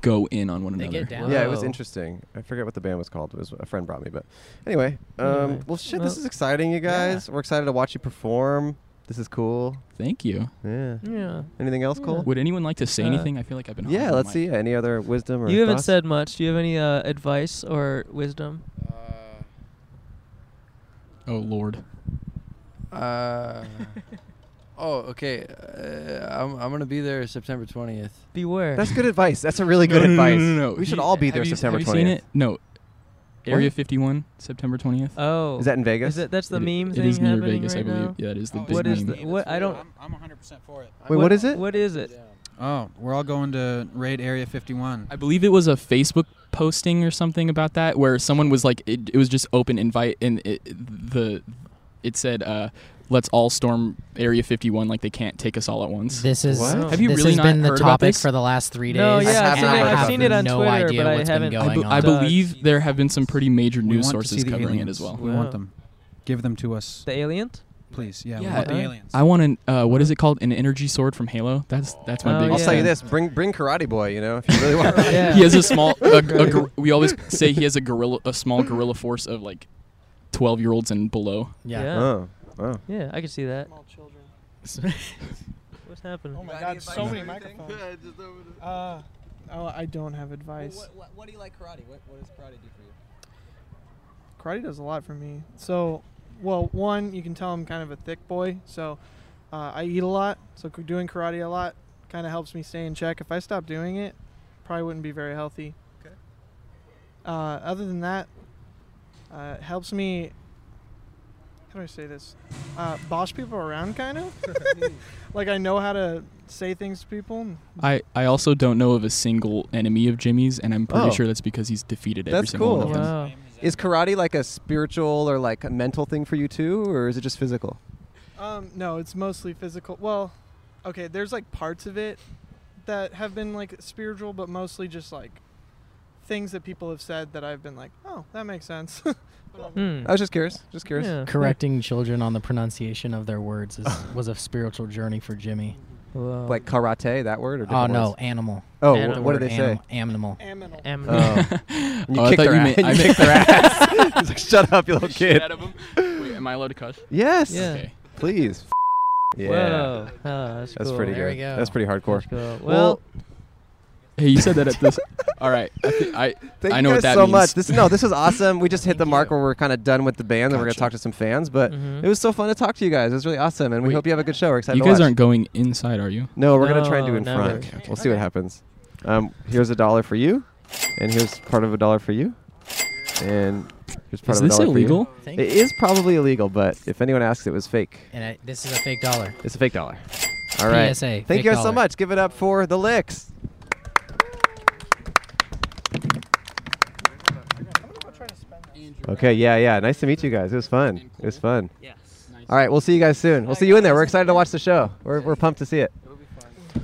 S12: go in on one
S13: They
S12: another.
S13: get down.
S2: Yeah, it was
S1: Whoa.
S2: interesting. I forget what the band was called. It was a friend brought me, but anyway. Um,
S1: Anyway,
S2: Well, shit,
S1: well,
S2: this is exciting, you guys. We're excited to watch you perform. This is cool.
S12: Thank you.
S2: Yeah.
S1: Yeah.
S2: Anything else,
S12: Yeah.
S2: Cole?
S12: Would anyone like to say
S1: Uh,
S12: anything? I feel like I've been.
S2: Yeah,
S12: on
S2: let's see. Any other wisdom or
S1: You haven't
S2: thoughts?
S1: said much. Do you have any uh, advice or wisdom?
S12: Oh Lord.
S14: Uh, oh, okay. Uh, I'm, I'm gonna be there September 20th.
S1: Beware.
S2: That's good advice. That's a really good
S12: no, no,
S2: advice.
S12: No, no, no, no.
S2: We should
S12: You-
S2: all be
S12: have
S2: there
S12: you-
S2: September
S12: have
S2: 20th.
S12: You seen it? No. Area
S2: What?
S12: 51, September 20th.
S1: Oh.
S2: Is that in Vegas?
S1: Is it, that's the
S12: It-
S1: meme
S12: it
S1: thing
S12: is near
S1: happening
S12: Vegas, I
S1: right
S12: believe.
S1: now?
S12: Yeah, it is the
S1: Oh,
S12: big
S1: What is
S12: meme.
S1: the, what I don't
S15: I'm 100% for it.
S2: Wait, what is it?
S1: What is it?
S15: Oh, we're all going to raid Area 51.
S12: I believe it was a Facebook posting or something about that where someone was like it, it was just open invite and it, the it said uh let's all storm area 51 like they can't take us all at once.
S13: This is
S12: Have you
S13: this
S12: really
S13: has
S12: not
S13: been the
S12: heard about
S13: topic
S12: this?
S13: for the last three days.
S1: No, yeah, I've
S13: and
S1: seen it-
S13: I
S1: I've
S13: have
S1: seen it on
S13: no
S1: Twitter,
S13: idea
S1: but I
S13: what's
S1: haven't-
S13: been
S1: I
S13: going
S12: bu-
S13: on.
S12: I believe there have been some pretty major
S15: we want
S12: news
S15: to
S12: sources
S15: see the
S12: covering
S15: aliens.
S12: it as well.
S15: We
S1: Wow.
S15: want them. Give them to us,
S1: The alien?
S15: please. Yeah, we
S12: Yeah,
S15: want the
S12: I-
S15: aliens.
S12: I want an uh, what is it called? An energy sword from Halo. That's that's my
S1: Oh,
S12: biggest.
S2: I'll tell you
S12: thing.
S2: this: bring bring Karate Boy. You know, if you really want.
S1: Yeah.
S12: He has a small. A, a gor- we always say he has a gorilla, a small gorilla force of like twelve year olds and below.
S13: Yeah.
S1: Yeah.
S2: Oh, oh.
S1: Yeah, I could see that. What's happening?
S16: Oh my God! So many microphones. Uh, oh, I don't have advice.
S3: What, what, what do you like karate? What, what does karate do for you?
S16: karate does a lot for me. So, well, one, you can tell I'm kind of a thick boy, so uh, I eat a lot. So c- doing karate a lot kind of helps me stay in check. If I stopped doing it, probably wouldn't be very healthy.
S3: Okay.
S16: Uh, other than that, uh, it helps me. How do I say this? Uh, boss people around, kind of. like I know how to say things to people. and
S12: I, I also don't know of a single enemy of Jimmy's, and I'm pretty
S2: Oh.
S12: sure that's because he's defeated every
S2: That's
S12: single
S2: cool.
S12: one of them.
S2: Is karate like a spiritual or like a mental thing for you too, or is it just physical?
S16: Um, no, it's mostly physical. Well, okay, there's like parts of it that have been like spiritual, but mostly just like things that people have said that I've been like, oh, that makes sense. Hmm.
S2: I was just curious. Just curious.
S1: Yeah.
S13: Correcting children on the pronunciation of their words is, was a spiritual journey for Jimmy.
S2: Like karate, that word, or
S13: Oh
S2: different
S13: no,
S2: words?
S13: animal.
S2: Oh,
S13: Animal.
S2: wh-
S13: The
S2: what
S13: word
S2: did they
S13: animal-
S2: say?
S13: Animal.
S16: Aminal.
S2: Oh. And you
S12: Oh, I
S2: kicked
S12: thought
S2: their
S12: you
S2: ass.
S12: meant- I
S2: you
S12: meant-
S2: kicked their ass. He's like, shut up, you little kid.
S12: Shit out of him. Wait, am I allowed to cuss?
S2: Yes.
S1: Yeah.
S12: Okay.
S2: Please. Yeah.
S1: Whoa. Oh, that's, cool.
S2: pretty
S13: There
S2: good.
S13: we go.
S2: That's pretty hardcore.
S1: Cool. Well,
S2: Well,
S12: Hey, you said that at this. All right, I thi- I,
S2: thank
S12: I
S2: you
S12: know
S2: guys
S12: what that
S2: so
S12: means.
S2: much. This no, this is awesome. We just hit the mark where we're kind of done with the band, and we're gonna
S12: Gotcha.
S2: talk to some fans. But
S1: Mhm.
S2: it was so fun to talk to you guys. It was really awesome, and we
S12: Wait.
S2: hope you have a good show. We're excited.
S12: you
S2: to
S12: guys
S2: watch.
S12: aren't going inside, are you?
S2: No, we're gonna try and do
S1: No,
S2: in
S1: never.
S2: front. We'll see what happens. Um, here's a dollar for you, and here's part of a dollar for you, and here's part
S12: Is
S2: of a
S12: this
S2: dollar
S12: illegal?
S2: for you.
S13: Thank
S2: It is probably illegal, but if anyone asks, it was fake.
S13: And I, this is a fake dollar.
S2: It's a fake dollar. All right.
S13: PSA,
S2: Thank
S13: fake
S2: you guys so
S13: dollar.
S2: much. Give it up for the licks. Okay. Yeah. Yeah. Nice to meet you guys. It was fun. It was fun. Yes. All right. We'll see you guys soon. We'll see you in there. We're excited to watch the show. We're, we're pumped to see it.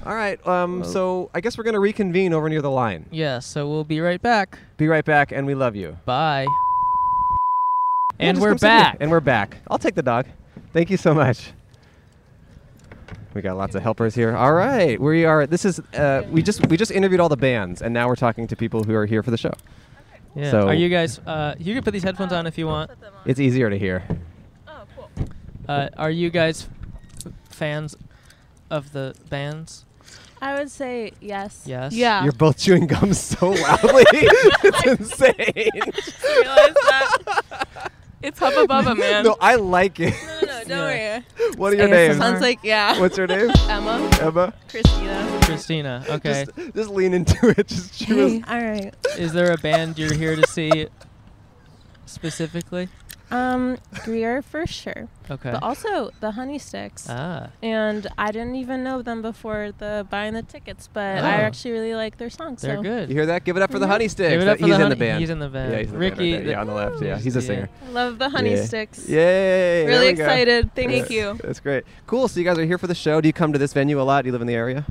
S2: All right. Um.
S1: Well-
S2: So I guess we're gonna reconvene over near the line.
S1: yeah, so we'll be right back.
S2: Be right back, and we love you.
S1: Bye.
S2: Yeah,
S1: And
S2: just
S1: we're
S2: come sit here.
S1: back.
S2: And we're back. I'll take the dog. Thank you so much. We got lots of helpers here. All right, we are. This is uh, we just we just interviewed all the bands, and now we're talking to people who are here for the show.
S1: Yeah.
S2: So
S1: Are you guys? Uh, you can put these headphones on if you want.
S2: it's easier to hear.
S1: Uh, are you guys f- fans of the bands?
S17: I would say yes.
S1: Yes.
S17: Yeah.
S2: You're both chewing gum so loudly. it's insane.
S17: It's Hubba Bubba, man.
S2: No, I like it.
S17: no, no, don't worry.
S2: What are your
S17: It's
S2: names?
S17: Sounds like yeah.
S2: What's your name?
S17: Emma.
S2: Emma.
S17: Christina.
S1: Christina. Okay.
S2: Just, just lean into it. Just chew as
S17: Hey, all right.
S1: Is there a band you're here to see specifically?
S17: Um, Greer for sure.
S1: Okay.
S17: But also the Honey Sticks.
S1: Ah.
S17: And I didn't even know them before the buying the tickets, but I
S2: Oh.
S17: actually really like their songs.
S1: Ah. They're
S17: so.
S1: good.
S2: You hear that? Give it up for the
S17: Mhm.
S2: Honey Sticks.
S1: Give it up
S2: That-
S1: for
S2: he's
S1: the
S2: in the
S1: honey-
S2: band.
S1: he's in the band.
S2: Yeah, he's in the band right
S1: Ricky,
S2: there.
S1: the-
S2: yeah, on the left. Yeah, he's a
S1: Yeah.
S2: singer.
S17: I love the Honey
S2: Yeah.
S17: Sticks.
S2: Yay! there
S17: Really
S2: we go.
S17: excited. Thank
S2: Yeah,
S17: you.
S2: That's great. Cool. So you guys are here for the show. Do you come to this venue a lot? Do you live in the area?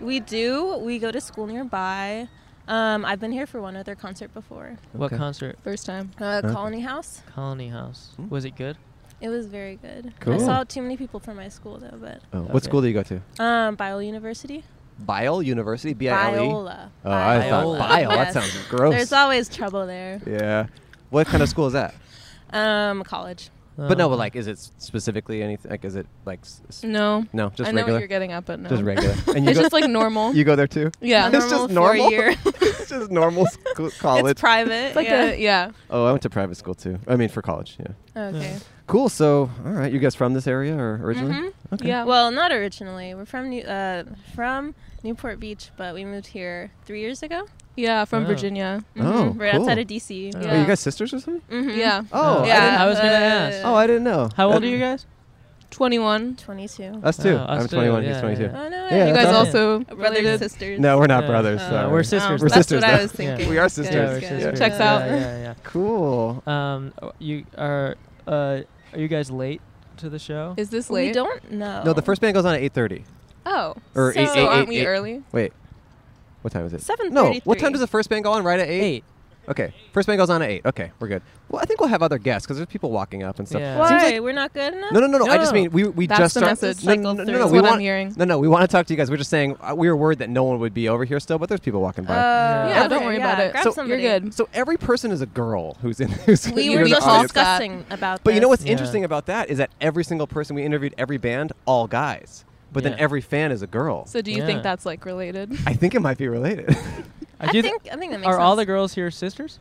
S17: We do. We go to school nearby. Um, I've been here for one other concert before.
S1: What
S2: Okay.
S1: concert?
S17: First time. Uh,
S2: Okay.
S17: Colony House.
S1: Colony House.
S2: Hmm?
S1: Was it good?
S17: It was very good. I
S2: Cool.
S17: saw too many people from my school though, but
S2: Oh, What
S1: Okay.
S2: school do you go to?
S17: um, Biola University.
S2: Bile University. B I L E.
S17: Biola.
S2: Oh, I thought
S1: Biola.
S2: bile. That
S17: Yes.
S2: sounds gross.
S17: There's always trouble there.
S2: yeah. What kind of school is that?
S17: Um, college.
S1: Oh.
S2: But no, but like, is it s- specifically anything? Like, is it like? s- s-
S18: No.
S2: No, just
S18: I know what
S2: regular.
S18: you're getting at, but no.
S2: Just regular.
S18: It's just, like, normal.
S2: You go there too.
S18: Yeah.
S2: it's just
S18: Normal
S2: normal.
S18: four-year.
S2: it's just normal school, college.
S18: private,
S17: It's like
S18: yeah.
S17: a- yeah.
S2: Oh, I went to private school too. I mean, for college.
S18: Oh,
S2: Yeah.
S17: Okay. Yeah.
S2: Cool. So, all right, you guys from this area or originally?
S18: Mm-hmm.
S17: Mhm.
S2: Okay.
S17: Yeah. Well, not originally. We're from New, uh, from Newport Beach, but we moved here three years ago.
S18: Yeah, from Oh. Virginia.
S2: Oh,
S17: Right
S2: cool.
S17: outside of DC.
S1: Oh.
S2: Are
S17: Yeah.
S2: you guys sisters or something?
S17: Mhm.
S18: Yeah.
S2: Oh,
S17: Yeah,
S2: didn't-
S17: I was
S18: Uh,
S17: gonna ask.
S2: Oh, I didn't know.
S1: How old
S2: That-
S1: are you guys?
S18: 21.
S17: 22.
S2: Us too.
S1: Oh, us
S2: I'm
S1: too.
S2: 21.
S1: Yeah,
S2: he's 22.
S1: yeah. Oh,
S17: no
S2: Yeah,
S18: you
S2: that's
S18: guys
S2: awesome.
S18: also
S17: Brothers,
S18: related?
S17: sisters.
S2: No, we're not
S1: Yeah.
S2: brothers.
S1: Oh.
S2: sorry.
S1: We're sisters.
S2: We're
S1: That's
S2: sisters.
S1: what I
S2: though.
S1: was thinking.
S2: We are
S1: Good,
S2: sisters.
S1: good, good.
S18: Checks
S1: Yeah,
S18: out.
S1: yeah, yeah.
S2: Cool.
S1: Um, uh, you are. Uh, are you guys late to the show?
S18: Is this
S17: We
S18: late?
S17: don't know.
S2: No, the first band goes on at 8:30.
S18: Oh.
S2: Or
S18: So
S2: eight, eight,
S18: aren't
S2: eight,
S18: we
S2: eight-
S18: early?
S2: Wait, what time is it? No,
S17: 7:33.
S2: what time does the first band go on? Right at eight. Eight. Okay, first band goes on at eight. Okay, we're good. Well, I think we'll have other guests because there's people walking up and stuff.
S17: Why?
S2: Seems like-
S17: we're not good enough.
S2: no, no, no, no, I just mean we we
S17: That's
S2: just
S17: the
S2: start-
S17: message.
S2: No, no,
S17: Cycle
S2: no, no,
S17: through.
S2: no,
S17: That's
S2: we
S17: what I'm
S2: want-
S17: hearing.
S2: No, no, we want to talk to you guys. We're just saying uh, we were worried that no one would be over here still, but there's people walking by.
S18: Yeah,
S17: Yeah,
S18: don't
S17: Uh, okay,
S18: worry
S17: yeah,
S18: about it.
S17: grab
S18: so
S17: somebody.
S18: You're good.
S2: So every person is a girl who's in. Who's
S17: We
S2: in
S17: were
S2: the
S17: just
S2: audience.
S17: discussing about.
S2: But you know
S17: this.
S2: what's interesting about that is that every single person we interviewed, every band, all guys. But then
S18: Yeah.
S2: every fan is a girl.
S18: So do you think that's like related?
S2: I think it might be related.
S17: I I do th- think- I think that makes
S1: Are all
S17: sense.
S1: the girls here sisters?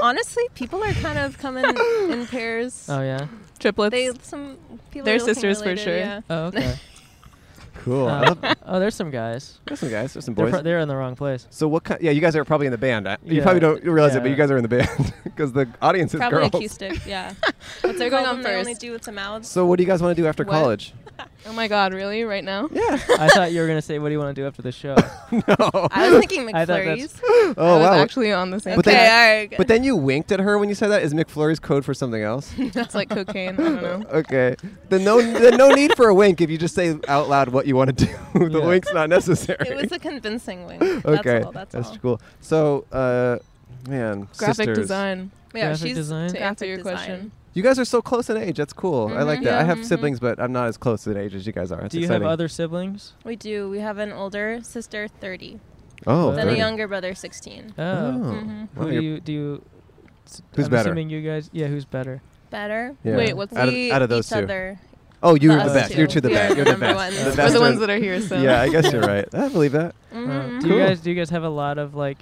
S17: Honestly, people are kind of coming in pairs.
S1: Oh, yeah?
S18: Triplets.
S17: They some people.
S18: They're
S17: are looking
S18: sisters for
S17: related,
S18: sure.
S17: Yeah.
S1: Oh, okay.
S2: cool. I
S1: Uh,
S2: love-
S1: oh, there's some guys.
S2: There's some guys. There's some
S1: They're
S2: boys.
S1: pro- they're in the wrong place.
S2: So what kind? Yeah, you guys are probably in the band. I- You
S1: Yeah.
S2: probably don't realize it, but
S1: Yeah.
S2: you guys are in the band because the audience is
S17: Probably
S2: girls.
S17: acoustic. Yeah. What's
S18: They're
S17: they're
S18: going
S17: going
S18: on
S17: They only
S18: first.
S17: do with the mouths.
S2: So what do you guys want to do after
S18: What?
S2: college?
S18: Oh my god, really? Right now?
S2: Yeah.
S1: I thought you were gonna say, "What do you want to do after the show?"
S2: no.
S18: I was thinking
S1: I thought that's-
S18: McFlurries.
S2: Oh
S18: I was
S2: wow.
S18: actually on the same
S2: But
S18: page.
S2: then,
S18: Okay, all right, good.
S2: But then you winked at her when you said that. Is McFlurry's code for something else?
S18: it's like cocaine. I don't know.
S2: okay. Then no, then no need for a wink if you just say out loud what you want to do. the wink's not necessary.
S17: It was a convincing wing.
S2: okay,
S17: That's all. That's all.
S2: cool. So, uh, man,
S18: Graphic
S2: sisters.
S18: design.
S17: Yeah,
S1: Graphic
S17: she's
S1: design?
S17: to
S18: answer
S17: answer
S18: your question.
S2: You guys are so close in age. That's cool. I like
S17: Mhm.
S2: that. I
S17: Yeah,
S18: Mm-hmm,
S2: have
S17: mhm.
S2: siblings, but I'm not as close in age as you guys are. That's
S1: do you
S2: exciting.
S1: have other siblings?
S17: We do. We have an older sister, 30.
S2: Oh,
S17: Then
S2: 30.
S17: a younger brother, 16.
S1: Oh.
S17: Mhm.
S2: Wow,
S1: Who do
S2: you're-
S1: you do? You, s-
S2: Who's
S1: I'm
S2: better?
S1: Assuming you guys. Yeah, who's better?
S17: Better.
S2: Yeah.
S18: Wait, what's
S2: out of,
S18: we
S2: out of those
S17: each
S2: two?
S17: other-
S2: Oh, you're
S17: us
S2: the best.
S17: two.
S2: You're two the
S17: We are
S2: best.
S17: the
S2: You're the
S17: number
S2: best.
S17: ones.
S2: The
S17: We're the
S2: best
S18: ones
S2: one.
S18: that are here, so.
S2: yeah, I guess you're right. I believe that.
S1: Uh,
S17: Mhm.
S1: do
S2: Cool.
S1: you guys do you guys have a lot of like?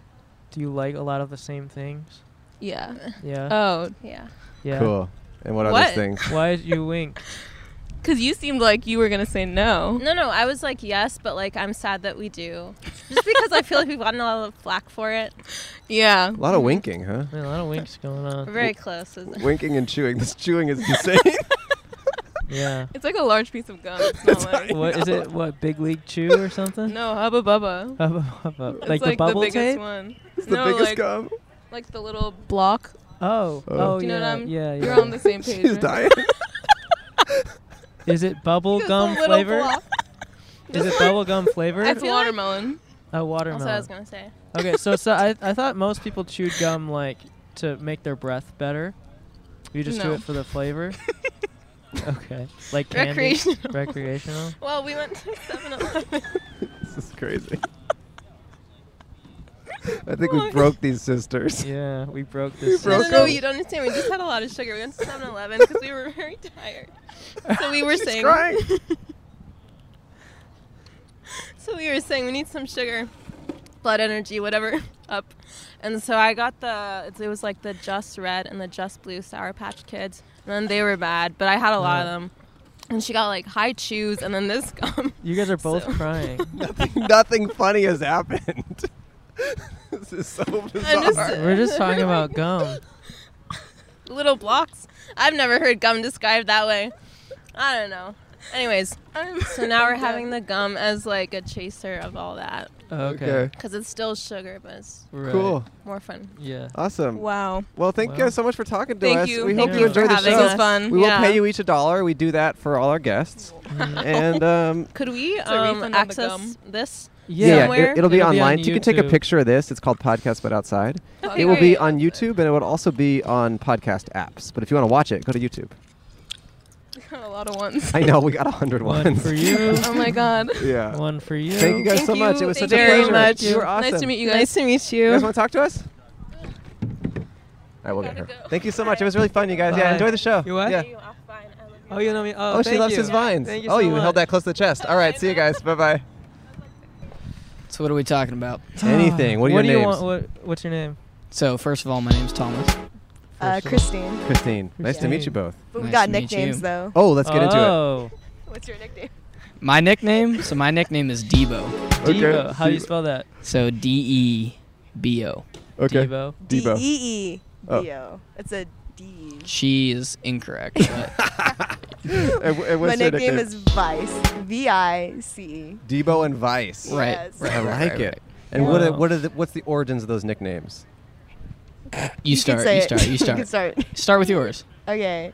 S1: Do you like a lot of the same things?
S18: Yeah.
S1: Yeah.
S18: Oh.
S17: Yeah.
S1: Yeah.
S2: Cool. And what, are
S18: What?
S2: those things?
S1: Why did you wink?
S18: Because you seemed like you were going to say no.
S17: No, no. I was like, yes, but like, I'm sad that we do. Just because I feel like we've gotten a lot of flack for it.
S18: Yeah.
S2: A lot of winking, huh?
S1: Man, a lot of winks going
S17: We're
S1: on.
S17: very close. Isn't it?
S2: Winking and chewing. This chewing is insane.
S1: Yeah.
S18: It's like a large piece of gum. It's not like.
S1: What is it? What big league chew or something?
S18: No, Hubba Bubba.
S1: Hubba Hubba.
S18: It's
S1: Like the bubble
S18: biggest
S1: tape?
S18: one.
S2: It's the
S18: No,
S2: biggest
S18: like,
S2: gum.
S18: Like the little block.
S1: Oh. Oh,
S18: Do you
S1: yeah,
S18: know what I'm?
S1: yeah.
S18: You're
S1: yeah.
S18: on the same page.
S2: Uh, She's
S18: right?
S2: dying.
S1: Is it bubble
S18: Just a
S1: gum
S18: little
S1: flavored?
S18: block.
S1: Is it bubble gum flavored?
S18: It's watermelon.
S1: A
S17: That's
S1: Oh, watermelon.
S17: what I was gonna say.
S1: Okay, so so I I thought most people chewed gum like to make their breath better. You just do
S18: No.
S1: it for the flavor. okay, like candy?
S17: Recreational.
S1: Recreational.
S17: Well, we went to 7-Eleven.
S2: this is crazy. I think we broke these sisters.
S1: Yeah, we broke
S2: We
S1: this.
S17: No, no,
S2: broke
S17: no,
S2: them.
S17: you don't understand. We just had a lot of sugar. We went to 7-Eleven because we were very tired. So we were
S2: She's
S17: saying.
S2: crying.
S17: so we were saying we need some sugar, blood energy, whatever, up. And so I got the. it's- It was like the Just Red and the Just Blue Sour Patch Kids, and then they were bad, but I had a lot of them. And she got like high chews, and then this gum.
S1: You guys are both crying.
S2: Nothing funny has happened. this is so
S17: I'm just-
S2: bizarre.
S1: We're just talking about gum.
S17: little blocks. I've never heard gum described that way. I don't know. Anyways, so now we're having the gum as like a chaser of all that.
S1: Okay.
S2: Okay.
S17: Because it's still sugar, but it's
S1: Right.
S2: Cool.
S17: more fun.
S1: Yeah.
S2: Awesome.
S18: Wow.
S2: Well, thank you
S17: Wow.
S2: guys so much for talking to
S17: Thank
S2: us.
S17: you.
S2: We
S17: Thank
S2: hope you,
S17: you for
S2: enjoy the
S17: having
S2: show.
S17: us. This was fun.
S2: We
S17: Yeah.
S2: will pay you each a dollar. We do that for all our guests.
S1: Mm.
S2: and um,
S17: Could we
S18: a refund
S17: um,
S18: on the
S17: access
S18: gum.
S17: this
S2: yeah,
S17: somewhere?
S2: it, will be
S1: It'll be on
S2: online. you can take a
S1: YouTube.
S2: picture of this. It's called Podcast But Outside.
S17: Okay,
S2: it will be
S17: great.
S2: on YouTube and it will also be on podcast apps. But if you want to watch it, go to YouTube.
S18: a lot of ones.
S2: I know we got a hundred
S1: One
S2: ones
S1: for you.
S18: oh my god.
S2: yeah.
S1: One for you.
S2: Thank you guys so much. It was such a
S18: very
S2: pleasure.
S18: much.
S2: You were awesome.
S18: Nice to meet you guys.
S17: Nice to meet you.
S2: You guys want to talk to us? I will get her. Thank you so much. It was really fun, you guys. Yeah,
S6: Bye.
S2: enjoy the show.
S6: You what?
S2: Yeah.
S6: Oh, you know me. Oh,
S2: Oh, she
S6: thank
S2: loves
S6: you.
S2: his vines.
S6: Thank you
S2: oh,
S6: so
S2: you
S6: much.
S2: held that close to the chest. All right, see you guys. Bye bye.
S19: So what are we talking about?
S2: Anything. What are
S1: what do
S2: your
S1: you
S2: names?
S1: want? What, what's your name?
S19: So first of all, my name's Thomas.
S20: Uh, Christine.
S2: Christine. Nice to meet you both.
S20: But we
S19: Nice
S20: got
S19: to meet
S20: nicknames
S19: you.
S20: though.
S2: Oh, let's get into it.
S19: Oh.
S20: What's your nickname?
S19: My nickname? So my nickname is Debo.
S1: Okay. Debo. How do you spell
S19: that? So D E B O.
S1: Okay. Debo.
S20: D E E B
S2: Oh.
S20: O. It's a D. E.
S19: She is incorrect. But
S20: My nickname is Vice. V I C E.
S2: Debo and Vice.
S19: Right, Yes. right,
S2: I
S19: right,
S2: like
S19: right,
S2: it.
S19: right.
S2: And what are,
S19: Wow.
S2: what are the, what's the origins of those nicknames?
S20: can
S19: You start.
S20: say
S19: You
S20: it.
S19: start. You
S20: You
S19: start.
S20: can start.
S19: Start with yours.
S20: Okay.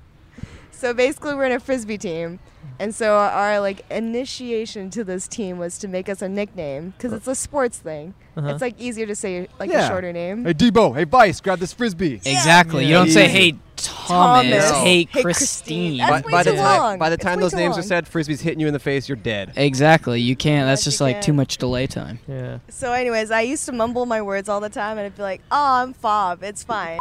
S20: so basically, we're in a frisbee team, and so our like initiation to this team was to make us a nickname because it's a sports thing.
S2: Uh-huh.
S20: It's like easier to say like a shorter name.
S2: Hey Debo, hey Vice, grab this frisbee.
S19: Exactly. You don't say, "Hey, Thomas. Thomas. Hey, Hey, Christine." Christine.
S2: By,
S19: That's way
S2: by the
S19: too
S2: time
S19: long.
S2: by the
S19: It's
S2: time
S19: way
S2: those
S19: too
S2: names are
S19: long.
S2: said, frisbee's hitting you in the face. You're dead.
S19: Exactly. You can't. That's
S20: Yes,
S19: just
S20: you
S19: like too
S20: can.
S19: much delay time. Yeah.
S20: So, anyways, I used to mumble my words all the time, and I'd be like, "Oh, I'm fob. It's fine."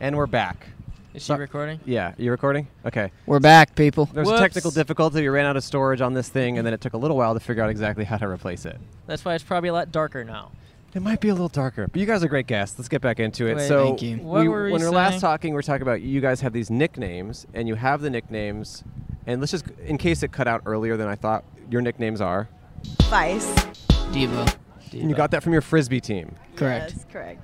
S2: And we're back.
S1: Is she
S19: recording?
S2: Yeah, you recording? Okay.
S19: We're back, people.
S2: There was a technical difficulty. We ran out of storage on this thing, and then it took a little while to figure out exactly how to replace it.
S1: That's why it's probably a lot darker now.
S2: It might be a little darker, but you guys are great guests. Let's get back into it.
S1: Wait,
S2: so,
S1: thank you.
S2: we-
S1: What were we
S2: when we were last
S1: saying?
S2: talking, we were talking about you guys have these nicknames, and you have the nicknames. And let's just, in case it cut out earlier than I thought, your nicknames are.
S20: Vice.
S19: Debo.
S2: And you got that from your frisbee team.
S19: Correct.
S20: Yes, correct.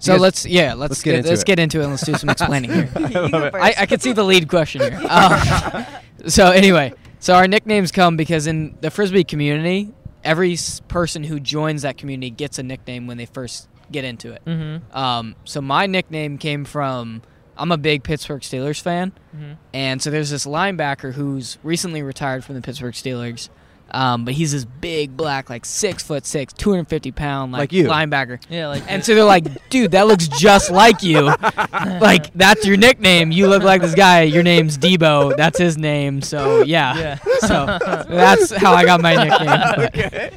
S19: So
S2: Yes.
S19: let's yeah let's, get, let's get into it and let's do some explaining here.
S2: I love it.
S19: I, I could see the lead question here. Um, so anyway, so our nicknames come because in the frisbee community, every s- person who joins that community gets a nickname when they first get into it.
S1: Mhm.
S19: Um, so my nickname came from I'm a big Pittsburgh Steelers fan,
S1: Mhm.
S19: and so there's this linebacker who's recently retired from the Pittsburgh Steelers. Um, but he's this big black, like six foot six, two hundred fifty pound, like,
S1: Like you.
S19: linebacker.
S1: Yeah, like
S19: And so they're like, dude, that looks just like you. like that's your nickname. You look like this guy. Your name's Debo. That's his name. So yeah.
S1: Yeah.
S19: So that's how I got my nickname.
S2: okay.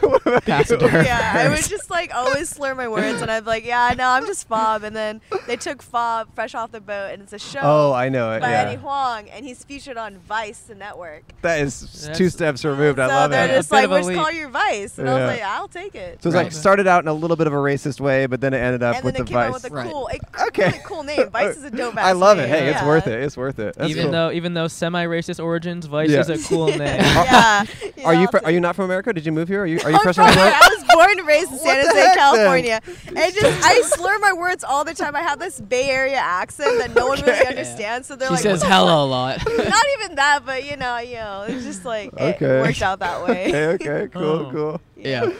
S19: what about Pass it to her
S20: yeah, I would
S19: first.
S20: just like always slur my words, and I'd be like, "Yeah, no, I'm just Fob." And then they took Fob fresh off the boat, and it's a show.
S2: Oh, I know it,
S20: By
S2: yeah.
S20: Eddie Huang, and he's featured on Vice, the network.
S2: That is two steps removed. I
S20: so
S2: love
S20: they're
S2: it.
S20: just like, "We're just calling you Vice," and I
S2: Yeah.
S20: was like, "I'll take it."
S2: So it's like started out in a little bit of a racist way, but then it ended up
S20: and then
S2: with
S20: they
S2: the
S20: came
S2: vice.
S20: out with Oh, a cool, a really cool name. Vice is a dope.
S2: I
S20: ass
S2: love it.
S20: name.
S2: Hey, it's
S20: Yeah.
S2: worth it. It's worth it. That's
S1: even
S2: cool.
S1: though even though semi-racist origins, Vice
S2: Yeah.
S1: is a cool name.
S20: Yeah.
S2: Are you fr- are you not from America? Did you move here? Are you are you
S20: I'm
S2: fresh
S20: from-
S2: out of
S20: I was born and raised in San
S2: the
S20: Jose,
S2: heck,
S20: California. And just I slur my words all the time. I have this Bay Area accent that no one really understands. So they're
S19: She
S20: like,
S19: says
S20: "What the
S19: hello a lot.
S20: fuck?" Not even that, but you know, you know, it's just like
S2: Okay.
S20: it worked out that way.
S2: okay, okay, cool,
S1: Oh.
S2: cool.
S19: Yeah.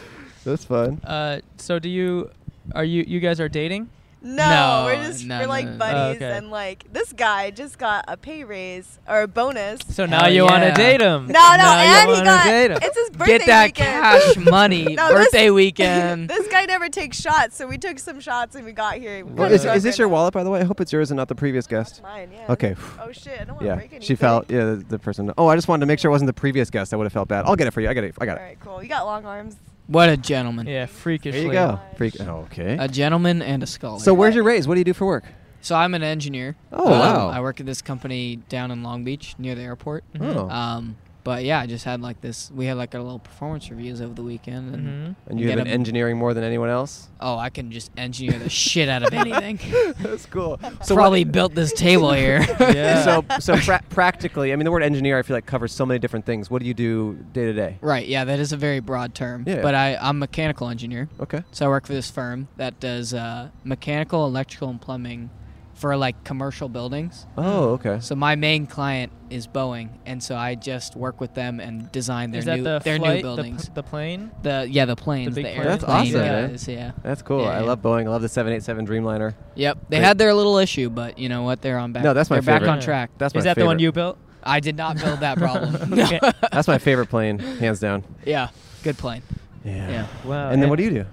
S2: That's fun.
S1: Uh, so do you are you you guys are dating?
S20: No, we're just we're like buddies,
S1: Oh, okay.
S20: and like this guy just got a pay raise or a bonus.
S1: So now you want to date him?
S20: No, no, and he got it's his birthday
S19: Get that
S20: weekend.
S19: cash money.
S20: No, this-
S19: birthday weekend.
S20: This guy never takes shots, so we took some shots and we got here. We
S2: Well,
S20: kinda
S2: is, is
S20: drunk
S2: this
S20: right
S2: your wallet, by the way? I hope it's yours and not the previous guest.
S20: mine, yeah.
S2: Okay.
S20: Oh shit! I don't want to
S2: Yeah,
S20: break anything.
S2: she felt. Yeah, the, the person. Oh, I just wanted to make sure it wasn't the previous guest. I would have felt bad. I'll get it for you. I got it. I got
S20: All
S2: it.
S20: right, cool. You got long arms.
S19: What a gentleman.
S1: Yeah, freakishly.
S2: There you go. Freak. Okay.
S19: A gentleman and a scholar.
S2: So where's your raise? What do you do for work?
S19: So I'm an engineer.
S2: Oh,
S19: Um,
S2: wow.
S19: I work at this company down in Long Beach near the airport.
S2: Mhm. Oh.
S19: Um, but yeah, I just had like this. We had like our little performance reviews over the weekend, and,
S2: And you
S19: get
S2: have been
S19: 'em-
S2: engineering more than anyone else.
S19: Oh, I can just engineer the shit out of anything.
S2: That's cool.
S19: So probably built this table here.
S2: So so pra- practically, I mean, the word engineer I feel like covers so many different things. What do you do day to day?
S19: Right. Yeah, that is a very broad term.
S2: Yeah.
S19: But I, I'm a mechanical engineer.
S2: Okay.
S19: So I work for this firm that does uh, mechanical, electrical, and plumbing for like commercial buildings.
S1: Mm.
S2: Oh, okay.
S19: So my main client is Boeing, and so I just work with them and design their
S1: Is that
S19: new
S1: the
S19: their
S1: flight,
S19: new
S1: the p-
S19: buildings.
S1: the plane?
S19: The yeah, the planes,
S1: big
S19: the
S1: plane?
S2: That's
S19: airplane
S2: awesome.
S19: guys,
S2: man.
S19: yeah.
S2: That's cool.
S19: Yeah,
S2: I
S19: yeah.
S2: love Boeing. I love the 787 Dreamliner.
S19: Yep, they
S2: Great.
S19: had their little issue, but you know what? They're on back.
S2: No, that's my
S19: They're back
S2: favorite.
S19: on track.
S2: That's my Is that the one favorite. you
S1: built?
S19: I did not build that problem.
S1: Okay.
S2: That's my favorite plane, hands down.
S19: Yeah, good plane. Yeah.
S2: And then what do you do?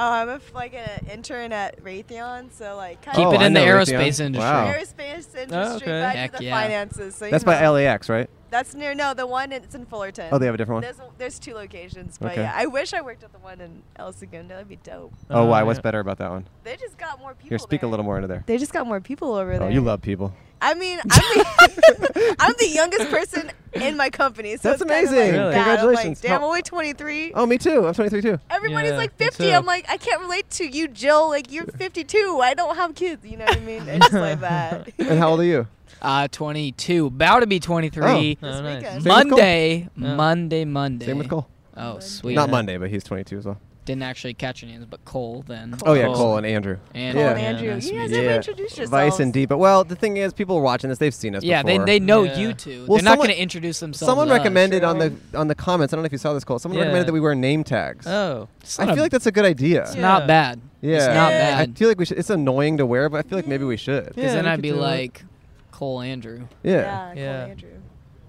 S21: Oh, I'm a f- like an intern at Raytheon, so like kind
S19: Keep
S2: Oh,
S19: it
S2: I
S19: in the
S2: know
S19: aerospace
S2: Raytheon.
S19: industry. Oh,
S2: Wow.
S21: Aerospace industry, back to
S19: Heck
S21: the
S19: yeah.
S21: finances. So you
S2: That's by
S21: know.
S2: LAX, right?
S21: That's near. No, the one it's in Fullerton.
S2: Oh, they have a different one?
S21: There's, there's two locations, but
S2: Okay.
S21: yeah, I wish I worked at the one in El Segundo. That'd be dope.
S2: Oh, why?
S19: Uh,
S2: What's better about that one?
S21: They just got more Uh, people.
S2: Here, speak a little more into there.
S21: They just got more people over
S2: Oh,
S21: there.
S2: you love people.
S21: I mean, I'm the, I'm the youngest person in my company, so
S2: That's
S21: it's kind of, like,
S2: amazing. Really?
S21: bad. I'm like,
S2: Congratulations.
S21: damn,
S2: How-
S21: I'm only 23.
S2: Oh, me too. I'm 23 too.
S21: Everybody's like
S2: me
S21: 50.
S2: too.
S21: I'm like, I can't relate to you, Jill. Like, you're 52. I don't have kids. You know what I mean? It's like that.
S2: and how old are you?
S19: Uh, 22, about to be 23.
S2: Oh. Oh, This nice. weekend. Same with Cole.
S19: Monday,
S2: Yeah.
S19: Monday, Monday.
S2: Same with Cole.
S19: Oh, sweet.
S2: Not Monday, but he's 22 as well.
S19: Didn't actually catch your names, but Cole then.
S2: Oh yeah, Cole and Andrew.
S19: And
S2: yeah.
S21: Andrew.
S19: nice
S21: You
S19: to meet
S21: guys never introduced
S2: Vice
S21: yourselves.
S2: and D. But well, the thing is, people watching this, they've seen us.
S19: Yeah, they-
S2: before.
S19: they know Yeah. you two. They're not gonna introduce themselves
S2: Someone
S19: to us.
S2: recommended on the on the comments. I don't know if you saw this, Cole. Someone
S19: Yeah.
S2: recommended that we wear name tags.
S19: Oh. It's
S2: I
S19: not
S2: feel
S19: a-
S2: like that's a good idea.
S19: It's not Yeah. bad.
S2: Yeah,
S19: It's not
S2: I
S19: bad.
S2: feel like we should. It's annoying to wear, but I feel like maybe we should.
S19: Because then I'd be like, Cole Andrew.
S2: Yeah.
S19: Yeah, Cole
S21: Andrew.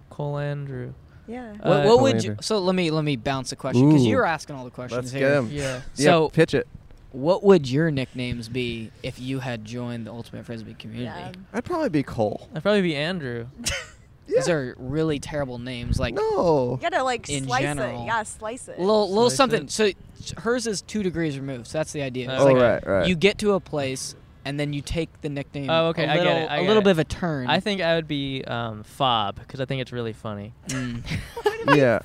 S1: Cole Andrew.
S21: Yeah.
S19: What,
S1: Uh,
S19: what
S1: Cole
S19: would
S1: Andrew.
S19: you? So let me let me bounce a question because
S1: Ooh.
S19: you were asking all the questions
S2: Let's
S19: here.
S2: get 'em.
S19: Yeah.
S2: Yeah,
S19: So
S2: pitch it.
S19: What would your nicknames be if you had joined the Ultimate Frisbee community?
S2: I'd probably be Cole.
S1: I'd probably be Andrew.
S19: These are really terrible names. Like
S2: no,
S21: You gotta, like,
S19: in
S21: slice it.
S19: general.
S21: Yeah, slice it.
S19: Little little
S21: Slice
S19: something.
S21: it.
S19: So hers is two degrees removed. So that's the idea. It's
S2: Oh,
S19: like
S2: right, right.
S19: You get to a place and then you take the nickname.
S1: Oh, okay,
S19: a
S1: I
S19: little-
S1: get it. I
S19: a
S1: get
S19: little
S1: it.
S19: bit of a turn.
S1: I think I would be um, Fob because I think it's really funny.
S2: yeah.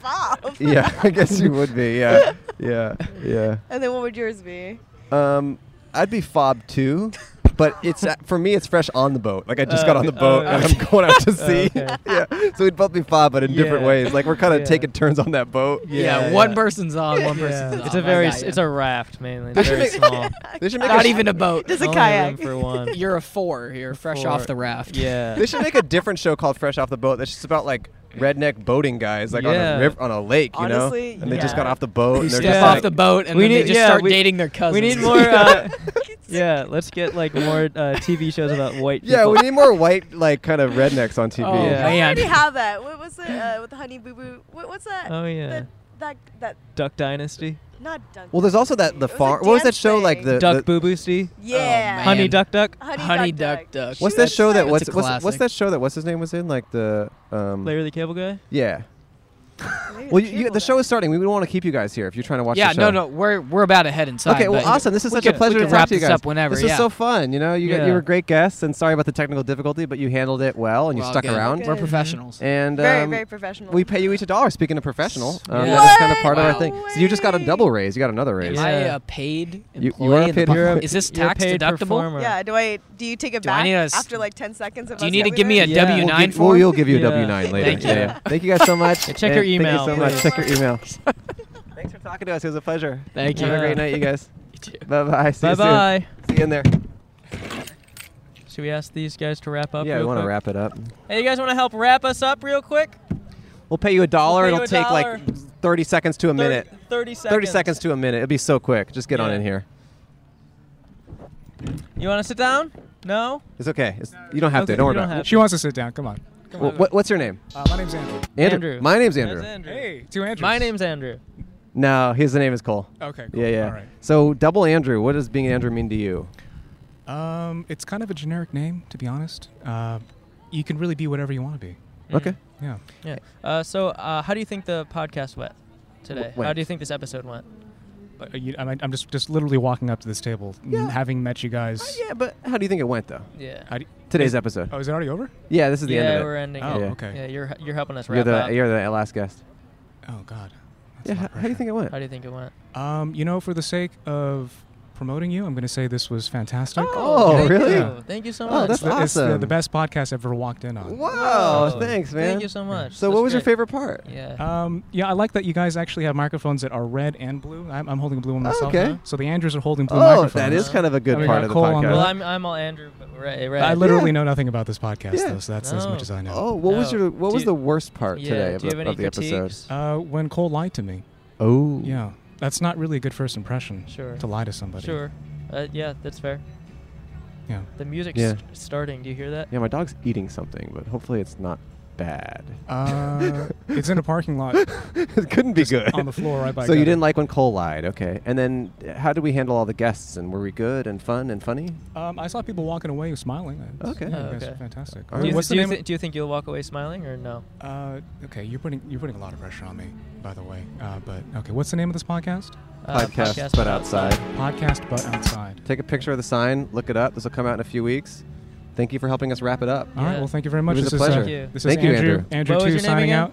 S2: Yeah, I guess you would be. Yeah, yeah, yeah.
S21: And then what would yours be?
S2: Um, I'd be fob too, but it's uh, for me. It's fresh on the boat. Like I just got
S1: Oh,
S2: on the
S1: oh,
S2: boat and
S1: okay.
S2: I'm going out to
S1: Oh,
S2: sea.
S1: okay.
S2: yeah, so we'd both be fob, but in different
S1: Yeah.
S2: ways. Like we're kind of
S1: Yeah.
S2: taking turns on that boat.
S19: yeah, one person's on, one person's off.
S1: It's a
S19: I
S1: very,
S19: got
S1: s-
S19: ya.
S1: it's a raft mainly.
S19: They
S1: It's
S19: should
S1: very
S19: make-
S1: small.
S2: They should make
S19: not
S2: a-
S19: even a boat.
S2: Just a Only room kayak. for one.
S19: You're a four. You're fresh off
S1: four.
S19: the raft.
S1: Yeah.
S2: They should make a different show called Fresh Off the Boat. That's just about like redneck boating guys, like on
S1: Yeah.
S2: a river, on a lake, you
S1: Honestly,
S2: know. And they just
S1: yeah.
S2: got off the boat.
S19: Who
S2: and they're
S19: step
S2: just
S19: off
S2: like-
S19: the boat and
S1: We
S19: then they
S1: need-
S19: just
S1: yeah,
S19: start
S1: we-
S19: dating their cousins.
S1: We need more. Uh, yeah, let's get like more uh, TV shows about white people.
S2: Yeah, we need more white, like kind of rednecks on TV.
S1: Oh, Yeah.
S21: We
S1: man.
S21: already have that. What was it uh, with the Honey Boo Boo? What, what's that?
S1: Oh, yeah.
S21: That that, that
S1: Duck Dynasty.
S21: not dunk.
S2: Well, there's also that the farm. What was that show like the
S1: Duck
S2: the-
S1: Boo Boo Stee.
S19: Oh,
S21: Yeah.
S1: Honey Duck Duck.
S21: Honey,
S19: duck, duck.
S2: What's that show that what's
S19: That's a
S2: what's, what's
S19: classic.
S2: that show that what's his name was in like the um
S1: Larry the Cable Guy.
S2: yeah. well, you, you, the show is starting. We don't want to keep you guys here if you're trying to watch.
S19: Yeah,
S2: the show.
S19: no, no, we're we're about ahead inside.
S2: Okay, well,
S19: but
S2: awesome. This is
S19: we
S2: such
S19: could-
S2: a
S19: we
S2: pleasure to
S19: could
S2: talk
S19: wrap
S2: to you
S19: this
S2: guys.
S19: up whenever.
S2: this
S19: yeah.
S2: was so fun. You know, you got, you
S19: Yeah.
S2: were great guests, and sorry about the technical difficulty, but you handled it well and you
S19: We're all
S2: stuck
S19: good.
S2: around.
S19: We're Good. professionals.
S2: and
S19: Very,
S2: um,
S19: very professional.
S2: We pay you each a dollar. Speaking of professional, um,
S19: Yeah.
S2: that's kind of part of our
S19: What?
S2: thing. So you just got a double raise. You got another raise.
S19: Am I a paid
S2: You- you
S19: employee?
S2: are a
S19: of the
S2: paid-
S19: pod-
S2: you're a-
S19: Is this
S2: you're a
S19: tax
S2: paid
S19: deductible?
S2: performer.
S21: Yeah. Do I? Do you take it
S19: Do I
S21: back
S19: need a s-
S21: after like 10 seconds of
S19: Do you
S21: us
S19: need to
S21: having
S19: give me
S21: this?
S19: a
S2: Yeah.
S19: W
S2: We'll
S19: nine
S2: give- well,
S19: form?
S2: you'll give you a
S19: Yeah.
S2: W9 later.
S19: Thank you.
S2: Yeah, yeah. Thank you guys so much.
S1: Check your
S2: And
S1: email,
S2: Thank you so much.
S1: please.
S2: Check your email. Thanks for talking to us. It was a pleasure.
S1: Thank
S2: Have
S1: you.
S2: a great night, you guys. Bye bye.
S1: Bye-bye.
S2: See you in there.
S1: Should we ask these guys to wrap up?
S2: yeah, we
S1: real
S2: want to
S1: quick?
S2: wrap it up.
S1: Hey, you guys want to help wrap us up real quick?
S2: We'll pay you a dollar.
S1: pay you
S2: It'll
S1: a
S2: take
S1: dollar.
S2: like 30 seconds to a minute.
S1: 30
S2: 30
S1: seconds.
S2: seconds to a minute. It'll be so quick. Just get on in here.
S1: You want to sit down? No.
S2: It's okay. It's, you don't have
S1: Okay,
S2: to. Don't
S1: you
S2: worry
S1: don't
S2: about
S1: have
S2: it.
S1: She to. wants
S2: to sit down. Come on.
S1: Come on.
S2: what, what's your name?
S1: Uh, my name's Andrew.
S2: Andrew. My name's
S1: That's
S2: Andrew.
S1: Hey, two Andrews. My name's Andrew.
S2: No, his name is Cole.
S1: Okay,
S2: Yeah,
S1: cool.
S2: yeah.
S1: All right.
S2: So, double Andrew. What does being Andrew mean to you?
S22: Um, it's kind of a generic name, to be honest. Uh, you can really be whatever you want to be.
S1: Mm.
S2: Okay.
S22: Yeah.
S1: Yeah. Uh, so, uh, how do you think the podcast went today?
S22: W- went.
S1: How do you think this episode went?
S22: But uh, you, I'm, I'm just just literally walking up to this table, n-
S1: Yeah.
S22: having met you guys.
S2: Uh, yeah, but how do you think it went though?
S1: Yeah.
S2: Today's episode.
S22: Oh, is it already over?
S2: Yeah, this is the
S1: yeah,
S2: end of it.
S1: we're ending.
S22: Oh,
S1: it.
S22: okay.
S1: Yeah, you're you're helping us
S2: You're
S1: wrap
S2: the
S1: up.
S2: you're the last guest.
S22: Oh God.
S2: yeah. How, how do you think it went?
S1: How do you think it went?
S22: Um, you know, for the sake of promoting you, I'm going to say this was fantastic.
S2: Oh,
S1: thank
S2: really?
S1: you. Thank you so
S2: Oh,
S1: much.
S2: that's
S22: It's the- It's the,
S2: awesome.
S22: the best podcast I've ever walked in on.
S2: Wow,
S1: Wow.
S2: thanks, man.
S1: Thank you so much.
S2: So,
S1: That's
S2: what was your
S1: great.
S2: favorite part? Uh,
S1: Yeah.
S22: Um, yeah, I like that you guys actually have microphones that are red and blue. I'm, I'm holding a blue one myself.
S2: okay.
S22: So the Andrews are holding blue
S2: Oh,
S22: microphones.
S2: that is kind of a good
S22: And we
S2: part
S22: got
S2: of the
S22: Cole on
S2: podcast.
S1: Well, I'm I'm all Andrew, but right, right.
S22: I literally
S1: Yeah.
S22: know nothing about this podcast,
S1: Yeah.
S22: though, so that's as
S1: No.
S22: much as I know.
S2: Oh, what was
S1: Oh.
S2: your what
S1: Do
S2: was
S1: you-
S2: the worst part
S1: yeah,
S2: today of,
S1: do you
S2: the-
S1: have any
S2: of the episode?
S1: critiques?
S22: Uh, when Cole lied to me.
S2: Oh.
S22: Yeah. That's not really a good first impression.
S1: Sure.
S22: To lie to somebody.
S1: Sure. Uh, yeah, that's fair.
S22: Yeah.
S1: The music's
S2: Yeah.
S1: st- starting. Do you hear that?
S2: Yeah, my dog's eating something, but hopefully it's not bad?
S22: Uh, it's in a parking lot.
S2: it couldn't be good.
S22: on the floor right by
S2: So you
S22: gutter.
S2: didn't like when Cole lied, okay? And then uh, how did we handle all the guests? And were we good and fun and funny?
S22: Um, I saw people walking away smiling. It's-
S2: Okay.
S22: yeah,
S2: Oh,
S22: you guys
S2: okay.
S22: are fantastic.
S2: All
S22: Uh,
S2: right.
S22: What's
S1: do,
S22: the
S1: you
S22: name?
S1: thi- do you think you'll walk away smiling or no?
S22: uh, okay, you're putting you're putting a lot of pressure on me, by the way. Uh, but okay, what's the name of this podcast?
S1: Uh,
S2: podcast, but outside.
S22: Podcast, but outside.
S2: Take a picture of the sign, look it up. This will come out in a few weeks. Thank you for helping us wrap it up.
S22: All right. Well, thank you very much.
S2: It was
S22: this
S2: a pleasure.
S22: Is, uh, this
S2: thank
S22: is
S2: you,
S22: Andrew.
S2: Andrew.
S22: Andrew
S1: What was
S22: two
S1: your name
S22: signing
S1: again?
S22: out.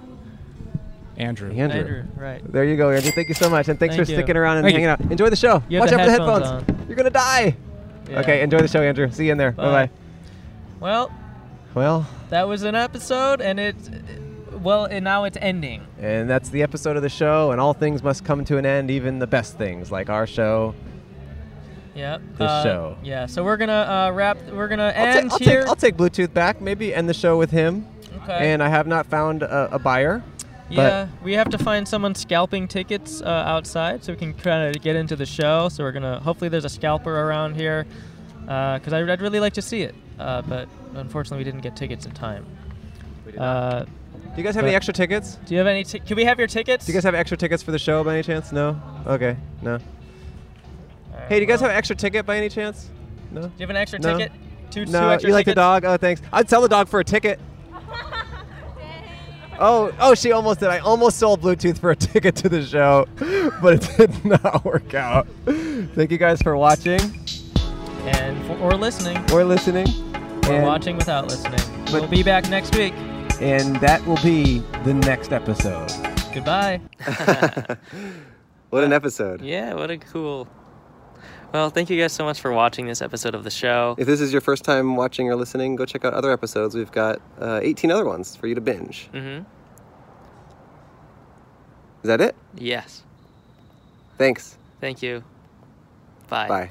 S22: Andrew.
S2: Andrew.
S1: Andrew, right.
S2: There you go, Andrew. Thank you so much, and thanks
S1: Thank
S2: for
S1: you.
S2: sticking around and
S1: Thank you.
S2: hanging out. Enjoy the show.
S1: You have
S2: Watch
S1: the
S2: out for the
S1: headphones
S2: headphones. You're gonna die. Okay, enjoy the show, Andrew. See you in there.
S1: Bye.
S2: Bye bye.
S1: Well,
S2: Well,
S1: that was an episode, and it, well, and now it's ending.
S2: and that's the episode of the show, and all things must come to an end, even the best things like our show.
S1: Yeah.
S2: This show.
S1: Uh, Yeah. So we're gonna uh, wrap. We're gonna
S2: I'll,
S1: end
S2: ta- I'll
S1: here.
S2: take, I'll take Bluetooth back, maybe end the show with him.
S1: Okay.
S2: And I have not found a, a buyer.
S1: yeah, we have to find someone scalping tickets uh, outside so we can try to get into the show. So we're gonna. Hopefully, there's a scalper around here, because I'd, I'd really like to see it. Uh, but unfortunately, we didn't get tickets in time.
S2: We
S1: did uh,
S2: But do you guys have any extra tickets?
S1: Do you have any? T- can we have your tickets?
S2: Do you guys have extra tickets for the show by any chance? No? Okay, no. Hey, do you guys have an extra ticket by any chance? No. Do
S1: you have an extra
S2: No?
S1: ticket? Two,
S2: no,
S1: two extra
S2: you like the
S1: tickets?
S2: dog? Oh, thanks. I'd sell the dog for a ticket. oh, oh, she almost did. I almost sold Bluetooth for a ticket to the show, but it did not work out. Thank you guys for watching
S1: And for, or listening.
S2: or listening.
S1: Or
S2: and,
S1: watching without listening. We'll be back next week.
S2: and that will be the next episode.
S1: Goodbye.
S2: What an episode.
S1: yeah, what a cool. Well, thank you guys so much for watching this episode of the show.
S2: If this is your first time watching or listening, go check out other episodes. We've got uh, 18 other ones for you to binge.
S1: Mm-hmm.
S2: Is that it?
S1: Yes.
S2: Thanks.
S1: Thank you. Bye.
S2: Bye.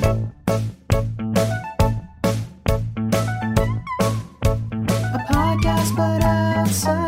S3: A podcast, but outside.